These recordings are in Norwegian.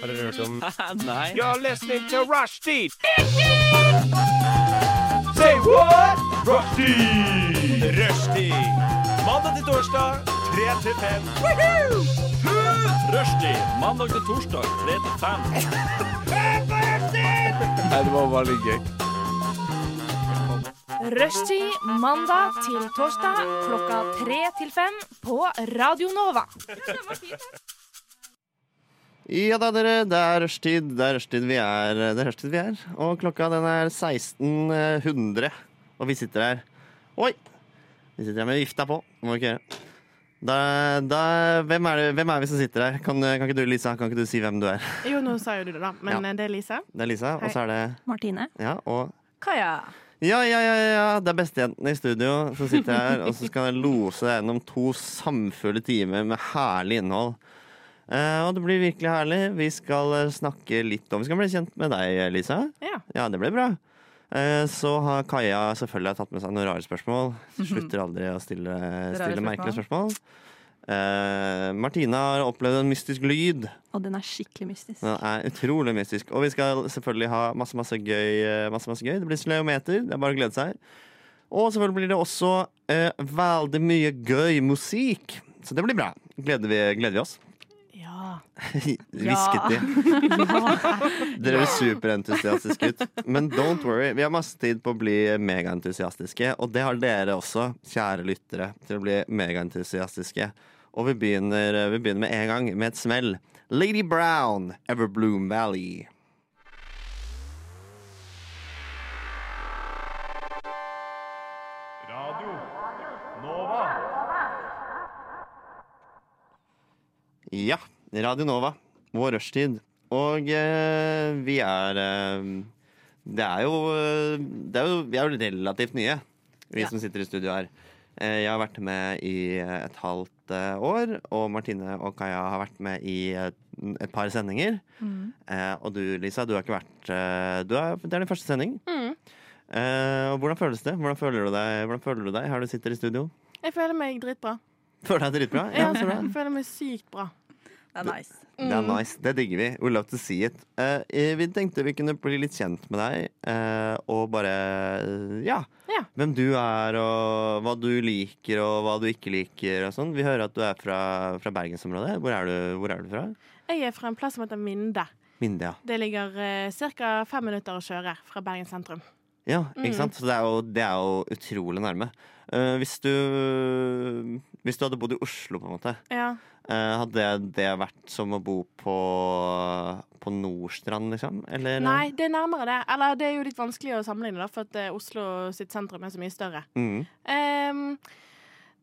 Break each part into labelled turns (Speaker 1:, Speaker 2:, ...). Speaker 1: Har dere hørt om
Speaker 2: Nei.
Speaker 3: You're listening to Rushdie. Say what? Rushdie. Rushdie. Mandag til torsdag, 3 til 5.
Speaker 2: Rushdie mandag til torsdag 3 til 5.
Speaker 4: Rushtid mandag til torsdag klokka tre til fem på Radio Nova.
Speaker 5: Ja da, dere. Det er rushtid. Det er rushtid vi er. Det er rushtid vi er. Og klokka den er 16.00, og vi sitter her Oi! Vi sitter her med vifta på. Må ikke gjøre. Da, da, hvem, er det, hvem er vi som sitter her? Kan, kan ikke du, Lisa, kan ikke du si hvem du er?
Speaker 6: Jo, nå sa jo du det, da. Men
Speaker 5: Ja.
Speaker 6: eh, det er Lise.
Speaker 5: Det er Lisa, og så er det
Speaker 7: Martine.
Speaker 5: Ja, og
Speaker 7: Kaja.
Speaker 5: Ja, ja, ja, ja, ja. det er bestejentene i studio som sitter her og så skal jeg lose deg gjennom to samfulle timer med herlig innhold. Eh, og det blir virkelig herlig. Vi skal eh, snakke litt om Vi skal bli kjent med deg, Lisa.
Speaker 6: Ja.
Speaker 5: Ja, det blir bra. Eh, så har Kaja selvfølgelig tatt med seg noen rare spørsmål.
Speaker 7: Mhm.
Speaker 5: Slutter aldri å stille, stille merkelige spørsmål. Eh, Martina har opplevd en mystisk lyd.
Speaker 7: Og den er skikkelig mystisk.
Speaker 5: Den er utrolig mystisk. Og vi skal selvfølgelig ha masse, masse gøy. eh, Masse, masse gøy. Det blir sleometer. Det er bare å glede seg. Og selvfølgelig blir det også eh, veldig mye gøy musikk. Så det blir bra. Gleder vi, gleder vi oss?
Speaker 6: Ja.
Speaker 5: Hvisket de. Dere høres superentusiastiske ut. Men don't worry, vi har masse tid på å bli megaentusiastiske. Og det har dere også, kjære lyttere, til å bli megaentusiastiske. Og vi begynner, vi begynner med en gang, med et smell. Lady Brown, Everbloom Valley.
Speaker 3: Radio Nova.
Speaker 5: Ja, Radio Nova. Vår rushtid. Og eh, vi er eh, Det er jo eh, det er jo, Vi er jo relativt nye, vi
Speaker 7: Ja.
Speaker 5: som sitter i studio her. Eh, jeg har vært med i eh, et halvt eh, år, og Martine og Kaja har vært med i et, et par sendinger. Eh, og du, Lisa, du har ikke vært eh, du er, Det er din første sending. Eh, og hvordan føles det? Hvordan føler du deg, hvordan føler du deg her du sitter i studio?
Speaker 6: Jeg føler meg dritbra.
Speaker 5: Føler du deg dritbra?
Speaker 6: Ja,
Speaker 5: så bra.
Speaker 6: jeg føler meg sykt bra.
Speaker 7: Det er nice.
Speaker 5: Det
Speaker 6: Mm.
Speaker 5: er nice. Det digger vi. We love to see it. Eh, eh, vi tenkte vi kunne bli litt kjent med deg, eh, og bare eh, ja.
Speaker 6: Ja.
Speaker 5: Hvem du er, og hva du liker, og hva du ikke liker, og sånn. Vi hører at du er fra, fra bergensområdet. Hvor er, du, hvor er du fra?
Speaker 6: Jeg er fra en plass som heter Minde.
Speaker 5: Minde, ja.
Speaker 6: Det ligger eh, ca. fem minutter å kjøre fra Bergen sentrum.
Speaker 5: Ja,
Speaker 6: Mm.
Speaker 5: ikke sant? Så det er jo, det er jo utrolig nærme. Eh, hvis, du, hvis du hadde bodd i Oslo, på en måte,
Speaker 6: Ja.
Speaker 5: eh, hadde det vært som å bo på, på Nordstrand, liksom? Eller?
Speaker 6: Nei, det er nærmere det. Eller det er jo litt vanskelig å sammenligne, da, for at eh, Oslo sitt sentrum er så mye større.
Speaker 5: Mm.
Speaker 6: Ehm,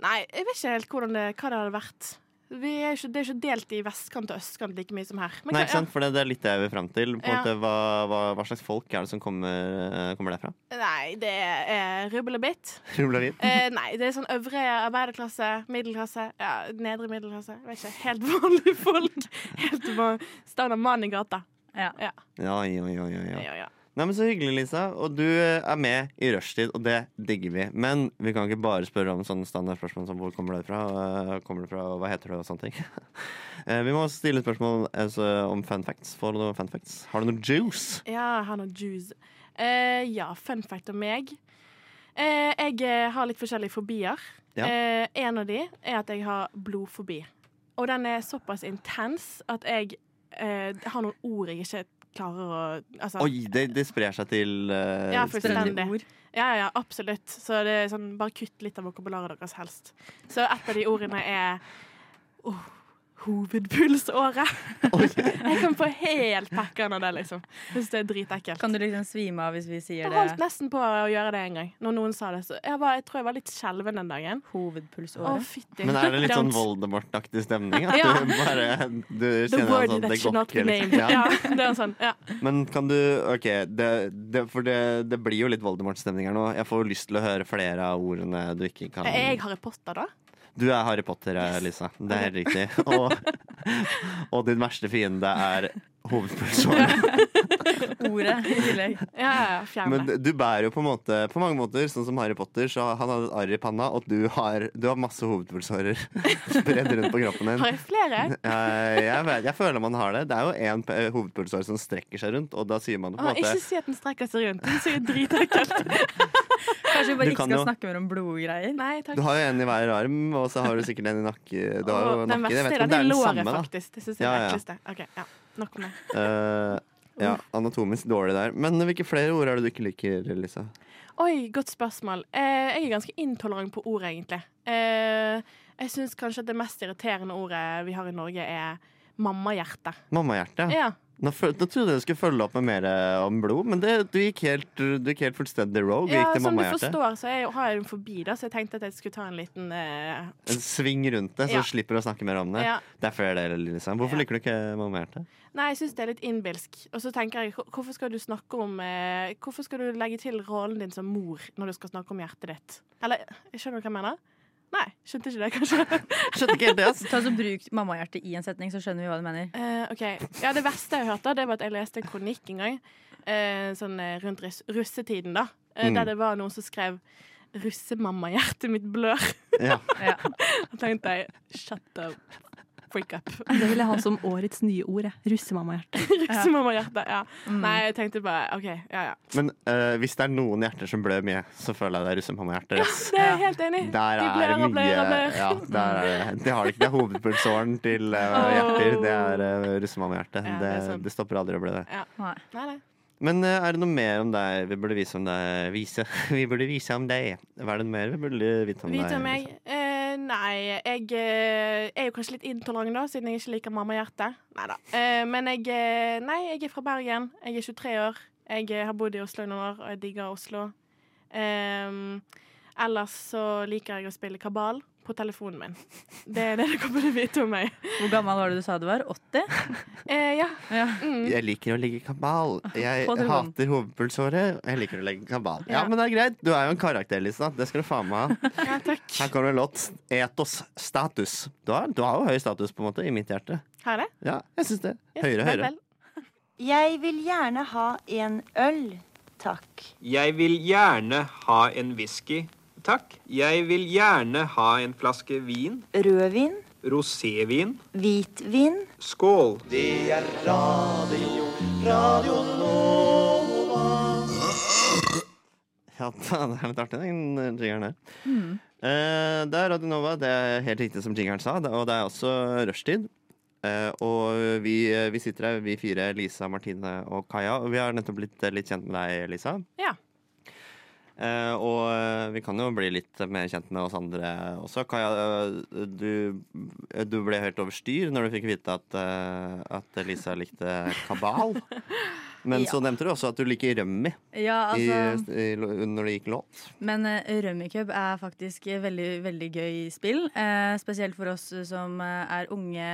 Speaker 6: nei, jeg vet ikke helt hvordan det, hva det hadde vært. Vi er ikke, det er ikke delt i vestkant og østkant like mye som her. Men
Speaker 5: Nei,
Speaker 6: hva-
Speaker 5: ikke sant? For det, det er litt det jeg vil fram til. På en
Speaker 6: Ja.
Speaker 5: måte, hva, hva, hva slags folk er det som kommer, eh, kommer derfra?
Speaker 6: Ja, nei, det er rubbel og bitt.
Speaker 5: Rubbelavid?
Speaker 6: Eh, nei, det er sånn øvre arbeiderklasse, middelklasse, ja, nedre middelklasse. Jeg vet ikke, Helt vanlige folk. Helt på standard mann i gata.
Speaker 7: Ja.
Speaker 5: Ja, ja, ja, ja, ja.
Speaker 6: Ja, ja.
Speaker 5: Nei, men Så hyggelig, Lisa. Og du eh, er med i rushtid, og det digger vi. Men vi kan ikke bare spørre om sånne standardspørsmål som hvor kommer du fra, eh, kommer du fra, og hva heter du, og sånne ting. Eh, vi må også stille spørsmål altså, om fun facts. Får du noen fun facts? Har du noe juice?
Speaker 6: Ja, han og juice. Eh, ja, fun fact om meg. Eh, jeg eh, har litt forskjellige fobier.
Speaker 5: Ja.
Speaker 6: Eh, en av de er at jeg har blodfobi. Og den er såpass intens at jeg eh, har noen ord jeg ikke klarer å altså,
Speaker 5: Oi, det, det sprer seg til eh,
Speaker 6: Ja,
Speaker 5: steder.
Speaker 6: fullstendig. Ja, ja, absolutt. Så det er sånn, bare kutt litt av vokabularet deres helst. Så et av de ordene er oh, hovedpulsåret. jeg kan få helt pekkeren av det, liksom. Hvis det er dritekkelt.
Speaker 7: Kan du liksom svime av hvis vi sier
Speaker 6: Jeg holdt
Speaker 7: det?
Speaker 6: nesten på å gjøre det en gang. Når noen sa det, så jeg, var, jeg tror jeg var litt skjelven den dagen. Å,
Speaker 7: Hovedpulsåret.
Speaker 6: fytti.
Speaker 5: Men er det litt sånn
Speaker 6: Don't-
Speaker 5: Voldemort-aktig stemning? At
Speaker 6: Ja.
Speaker 5: du bare du
Speaker 6: The
Speaker 5: kjenner
Speaker 6: word
Speaker 5: at sånn,
Speaker 6: that
Speaker 5: det
Speaker 6: should
Speaker 5: går
Speaker 6: not be
Speaker 5: ikke? Liksom.
Speaker 6: named.
Speaker 5: Ja.
Speaker 6: Ja, det er sånn. Ja.
Speaker 5: Men kan du OK, det, det, for det, det blir jo litt Voldemort-stemning her nå. Jeg får lyst til å høre flere av ordene du ikke kan
Speaker 6: Er jeg Harry Potter, da?
Speaker 5: Du er Harry Potter, eh, Lisa. Det er helt riktig. Og, og din verste fiende er hovedpersonen.
Speaker 7: ordet i tillegg.
Speaker 6: Ja, ja, fjern
Speaker 5: Men
Speaker 6: det.
Speaker 5: du bærer jo på, en måte, på mange måter, sånn som Harry Potter, så han hadde et arr i panna, og du har, du har masse hovedpulsårer spredd rundt på kroppen din.
Speaker 6: Har jeg flere?
Speaker 5: Eh, Jeg, vet, jeg føler man har det. Det er jo én p- hovedpulsår som strekker seg rundt, og da sier man det på
Speaker 6: Å,
Speaker 5: en måte
Speaker 6: ikke si at den strekker seg rundt. Den ser jo dritekkelt
Speaker 7: Kanskje vi bare
Speaker 5: Du
Speaker 7: ikke
Speaker 5: kan
Speaker 7: skal
Speaker 5: jo-
Speaker 7: snakke mer om blodgreier?
Speaker 6: Nei, takk.
Speaker 5: Du har jo en i hver arm, og så har du sikkert en i nakke. Du har jo
Speaker 6: Å, den
Speaker 5: nakke. Jeg
Speaker 6: verste
Speaker 5: vet ikke om det
Speaker 6: er at jeg
Speaker 5: er den
Speaker 6: lårer,
Speaker 5: samme, da.
Speaker 6: faktisk. Det syns jeg
Speaker 5: Ja,
Speaker 6: er
Speaker 5: ja.
Speaker 6: det ekleste. Ok, ja. Nok om det.
Speaker 5: Eh, ja, anatomisk dårlig der. Men hvilke flere ord er det du ikke liker, Lisa?
Speaker 6: Oi, godt spørsmål. Eh, jeg er ganske intolerant på ord, egentlig. Eh, jeg syns kanskje at det mest irriterende ordet vi har i Norge, er mammahjerte.
Speaker 5: Mammahjerte.
Speaker 6: Ja.
Speaker 5: Nå, føl- nå trodde jeg du skulle følge opp med mer eh, om blod, men det, du, gikk helt, du gikk helt fullstendig rogue.
Speaker 6: ja,
Speaker 5: gikk til
Speaker 6: som du
Speaker 5: mammahjerte.
Speaker 6: forstår, så er jeg, har jeg en forbi, da, så jeg tenkte at jeg skulle ta en liten eh,
Speaker 5: En sving rundt det, så
Speaker 6: Ja.
Speaker 5: du slipper å snakke mer om det.
Speaker 6: ja.
Speaker 5: Det er fair, det, Lisa. Hvorfor
Speaker 6: Ja.
Speaker 5: liker du ikke mammahjerte?
Speaker 6: Nei, jeg syns det er litt innbilsk. Og så tenker jeg, hvor- hvorfor skal du snakke om eh, Hvorfor skal du legge til rollen din som mor når du skal snakke om hjertet ditt? Eller skjønner du hva jeg mener? Nei, skjønte ikke det, kanskje.
Speaker 5: Skjønte ikke helt det, ass.
Speaker 7: Ta så Bruk mammahjertet i en setning, så skjønner vi hva du mener.
Speaker 6: Eh, ok, ja Det verste jeg hørte, det var at jeg leste en kronikk en gang eh, sånn eh, rundt russ russetiden. da eh,
Speaker 5: Mm.
Speaker 6: Der det var noen som skrev 'Russemammahjertet mitt blør'.
Speaker 5: Ja.
Speaker 7: Ja.
Speaker 6: Da tenkte jeg shut the freak up.
Speaker 1: Det vil jeg ha som årets nye ord. jeg. Russemammahjerte.
Speaker 6: Russemammahjerte. Ja.
Speaker 7: Mm.
Speaker 6: Nei, jeg tenkte bare OK, ja ja.
Speaker 5: Men eh, hvis det er noen hjerter som blør mye, så føler jeg det er russemammahjerter. ass.
Speaker 6: Det er jeg helt enig i.
Speaker 5: Der
Speaker 6: De
Speaker 5: er
Speaker 6: blør
Speaker 5: det
Speaker 6: og
Speaker 5: mye
Speaker 6: blør og blør.
Speaker 5: ja, der er det. det har det ikke. Det er hovedpulsåren til eh, hjerter. Det er uh, russemammahjerte.
Speaker 6: Ja, det
Speaker 5: det,
Speaker 6: er
Speaker 5: det,
Speaker 6: sant.
Speaker 5: stopper aldri å bli det.
Speaker 7: Nei.
Speaker 6: Nei, nei.
Speaker 5: Men eh, er det noe mer om deg vi burde vise om deg? Vise. Vi burde vise om deg. Hva er det mer vi burde vite om deg? liksom.
Speaker 6: Vit om meg. Eh, nei, jeg eh, er jo kanskje litt intolerant, da, siden jeg ikke liker mammahjerte. Nei da. Eh, men jeg eh, Nei, jeg er fra Bergen. Jeg er 23 år. Jeg eh, har bodd i Oslo i noen år, og jeg digger Oslo. Ehm, ellers så liker jeg å spille kabal på telefonen min. Det er det du kommer til å vite om meg.
Speaker 7: Hvor gammel var det du sa du var? 80?
Speaker 6: Eh, ja.
Speaker 7: Ja.
Speaker 6: Mm.
Speaker 5: Jeg liker å ligge i kabal. Jeg
Speaker 7: På telefonen.
Speaker 5: hater hovedpulsåret. Jeg liker å ligge i kabal. Ja,
Speaker 6: Ja.
Speaker 5: men det er greit. Du er jo en karakter, Lisa. Det skal du faen meg ha.
Speaker 6: ja, takk.
Speaker 5: Her kommer en låt. Etos status. Du har, du har jo høy status, på en måte, i mitt hjerte.
Speaker 6: Har jeg det?
Speaker 5: Ja, jeg syns det.
Speaker 6: Yes,
Speaker 5: Høyere,
Speaker 6: vel,
Speaker 5: høyere.
Speaker 6: vel.
Speaker 8: Jeg vil gjerne ha en øl, takk.
Speaker 9: Jeg vil gjerne ha en whisky, takk. Jeg vil gjerne ha en flaske vin,
Speaker 8: Rødvin,
Speaker 9: rosévin,
Speaker 8: hvitvin.
Speaker 9: skål.
Speaker 5: Ja, da, det er litt artig, den jingeren der. Eh, det er Radio Nova, det er helt riktig som jingeren sa, det- og det er også rushtid. Eh, og vi, eh, vi sitter her, vi fire, Lisa, Martine og Kaja, og vi har nettopp blitt eh, litt kjent med deg, Lisa.
Speaker 6: Ja.
Speaker 5: Eh, og eh, vi kan jo bli litt mer kjent med oss andre også. Kaja, eh, du, eh, du ble helt over styr når du fikk vite at, eh, at Lisa likte kabal. Men så nevnte du også at du liker rømmi
Speaker 7: ja,
Speaker 5: i,
Speaker 7: altså
Speaker 5: i, når det gikk låt.
Speaker 7: Men uh, rummikub er faktisk et veldig, veldig gøy spill. eh, spesielt for oss som eh, er unge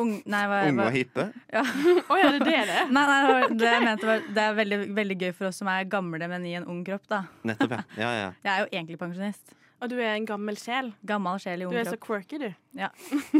Speaker 7: ung, Nei, hva,
Speaker 5: Unge
Speaker 7: hva,
Speaker 5: og hippe.
Speaker 6: Å ja, det er det det er.
Speaker 7: nei, nei det, var, det, jeg mente var, det er veldig, veldig gøy for oss som er gamle, men i en ung kropp. da
Speaker 5: Nettopp, ja. ja, ja.
Speaker 7: Jeg er jo egentlig pensjonist.
Speaker 6: Og du er en gammel sjel.
Speaker 7: Gammel sjel i
Speaker 6: Du
Speaker 7: ung
Speaker 6: er så
Speaker 7: kropp.
Speaker 6: quirky, du.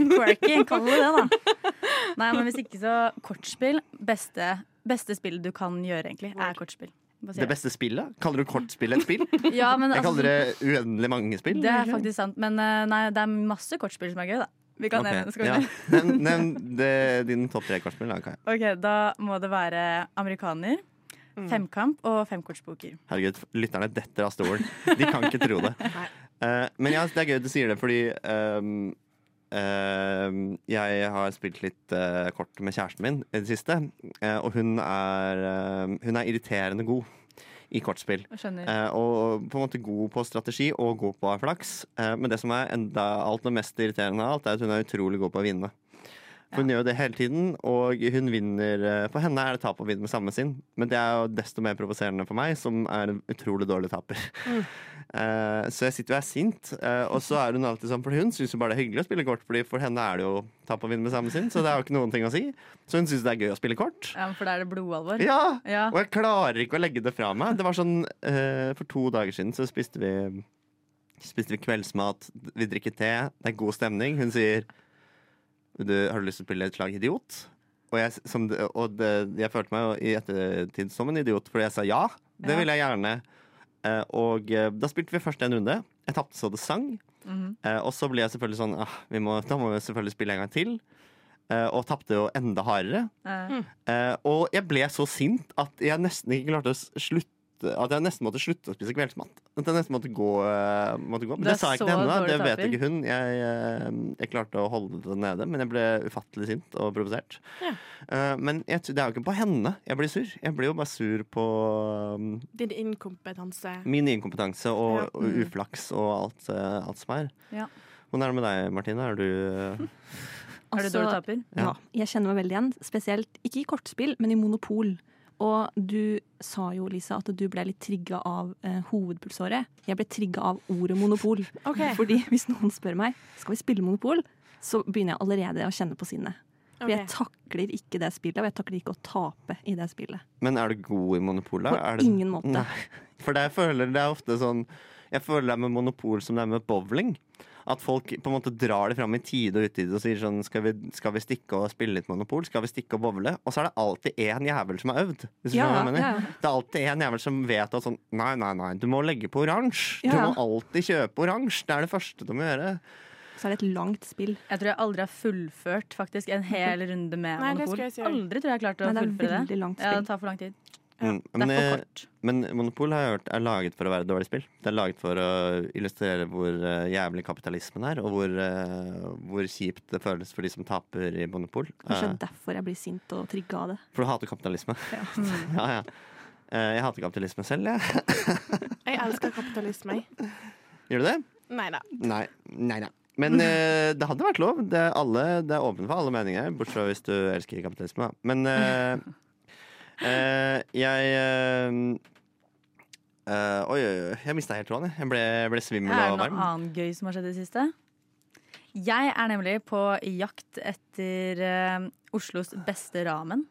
Speaker 7: Quirky, kall det det, da. Nei, men hvis ikke, så kortspill. Beste, beste spillet du kan gjøre, egentlig, er kortspill. Hva sier
Speaker 5: Det beste spillet? Kaller du kortspill et spill?
Speaker 7: jeg? Ja, men,
Speaker 5: Jeg
Speaker 7: altså,
Speaker 5: kaller det uendelig mange spill.
Speaker 7: Det er faktisk sant. Men eh, nei, det er masse kortspill som er gøy, da. Vi kan
Speaker 5: Ok,
Speaker 7: nevne det. Skal vi
Speaker 5: ja.
Speaker 7: nevne det?
Speaker 5: Nevn nevn det- din topp tre kortspill. da, Kaja.
Speaker 7: Ok, Da må det være amerikaner, Mm. femkamp og femkortspoker.
Speaker 5: Herregud, lytterne detter av stolen. De kan ikke tro det. Eh, men ja, det er gøy at du sier det, fordi ehm, ehm, jeg har spilt litt eh, kort med kjæresten min i det siste. eh, og hun er, ehm, hun er irriterende god i kortspill.
Speaker 7: Skjønner.
Speaker 5: Eh, og på en måte god på strategi og god på flaks. Eh, men det som er enda alt det mest irriterende av alt, er at hun er utrolig god på å vinne. For Hun gjør jo det hele tiden, og hun vinner eh, For henne er det tap å vinne med samme sinn, men det er jo desto mer provoserende for meg, som er en utrolig dårlig taper. Eh, så jeg sitter jo og er sint, eh, og så er hun alltid sånn, for hun syns jo bare det er hyggelig å spille kort, Fordi for henne er det jo tap å vinne med samme sinn, så det er jo ikke noen ting å si. Så hun syns det er gøy å spille kort.
Speaker 7: Ja, men for da er det blodalvor.
Speaker 5: Ja,
Speaker 7: Ja.
Speaker 5: og jeg klarer ikke å legge det fra meg. Det var sånn, eh, For to dager siden så spiste vi, spiste vi kveldsmat, vi drikker te, det er god stemning. Hun sier du, 'Har du lyst til å spille et slag idiot?' Og, jeg, som, det- og det, jeg følte meg jo i ettertid som en idiot, fordi jeg sa ja. Det vil jeg gjerne. Eh, og eh, da spilte vi først en runde. Jeg tapte så det sang. Eh, og så ble jeg selvfølgelig sånn ah, vi må, Da må vi selvfølgelig spille en gang til. Eh, og tapte jo enda hardere.
Speaker 7: Eh,
Speaker 5: Eh, og jeg ble så sint at jeg nesten ikke klarte å s- slutte At jeg nesten måtte slutte å spise kveldsmat. At jeg nesten måtte gå, eh, måtte gå. Men
Speaker 7: Du er
Speaker 5: det sa jeg ikke til
Speaker 7: så
Speaker 5: henne, da.
Speaker 7: dårlig
Speaker 5: det vet
Speaker 7: taper.
Speaker 5: ikke hun. Jeg, eh, jeg klarte å holde det nede, men jeg ble ufattelig sint og provosert. Eh, men jeg, tr- det er jo ikke på henne jeg blir sur. Jeg blir jo bare sur på um,
Speaker 6: Din inkompetanse.
Speaker 5: min inkompetanse og,
Speaker 6: Ja.
Speaker 5: og uflaks og alt, eh, alt som er.
Speaker 7: Mm. Ja.
Speaker 5: Hvordan er det med deg, Martine? Er du eh,
Speaker 7: Er du
Speaker 1: Altså,
Speaker 7: dårlig taper?
Speaker 1: Ja, jeg kjenner meg veldig igjen. Spesielt ikke i kortspill, men i Monopol. Og du sa jo, Lisa, at du ble litt trigga av eh, hovedpulsåret. Jeg ble trigga av ordet monopol.
Speaker 6: Ok.
Speaker 1: Fordi hvis noen spør meg skal vi spille monopol, så begynner jeg allerede å kjenne på sinnet. For jeg
Speaker 6: Ok.
Speaker 1: takler ikke det spillet, og jeg takler ikke å tape i det spillet.
Speaker 5: Men er du god i Monopol? da?
Speaker 1: På
Speaker 5: Er det-
Speaker 1: ingen måte.
Speaker 5: For det jeg føler det er ofte sånn Jeg føler det er med Monopol som det er med bowling. At folk på en måte drar det fram i tide og utide og sier sånn skal vi, skal vi stikke og spille litt Monopol? Skal vi stikke og bowle? Og så er det alltid én jævel som har øvd. Hvis du
Speaker 1: Ja,
Speaker 5: skjønner hva jeg mener.
Speaker 1: ja, ja.
Speaker 5: Det er alltid én jævel som vet at sånn Nei, nei, nei, du må legge på oransje. Du
Speaker 1: Ja, ja.
Speaker 5: må alltid kjøpe oransje. Det er det første du må gjøre.
Speaker 1: Så er det et langt spill.
Speaker 7: Jeg tror jeg aldri har fullført faktisk en hel runde med
Speaker 6: Nei, det
Speaker 7: monopol.
Speaker 6: skal jeg si også.
Speaker 7: Aldri tror jeg har klart å
Speaker 1: Nei, det er
Speaker 7: fullføre det.
Speaker 1: veldig langt
Speaker 7: Ja, det
Speaker 1: spill.
Speaker 7: tar for lang tid.
Speaker 5: Mm.
Speaker 7: Det
Speaker 5: Men,
Speaker 7: er for
Speaker 5: eh,
Speaker 7: kort.
Speaker 5: men Monopol har jeg hørt er laget for å være et dårlig spill. Det er laget for å illustrere hvor eh, jævlig kapitalismen er, og hvor, eh, hvor kjipt det føles for de som taper i Monopol.
Speaker 1: Kanskje
Speaker 5: Eh,
Speaker 1: derfor jeg blir sint og trigga av det.
Speaker 5: for du hater kapitalisme. ja, Mm. ja. Eh, jeg hater kapitalisme selv, jeg.
Speaker 6: Jeg elsker kapitalisme. jeg.
Speaker 5: Gjør du det?
Speaker 6: Nei da.
Speaker 5: Nei. Nei, nei. Men eh, det hadde vært lov. Det er, alle, det er åpent for alle meninger, bortsett fra hvis du elsker kapitalisme. Da. Men eh, eh, jeg eh, eh, Oi, oi, oi. Jeg mista helt tråden. jeg. Jeg ble, jeg ble svimmel
Speaker 7: Er
Speaker 5: og
Speaker 7: det noe
Speaker 5: varm.
Speaker 7: annet gøy som har skjedd i det siste? Jeg er nemlig på jakt etter eh, Oslos beste ramen.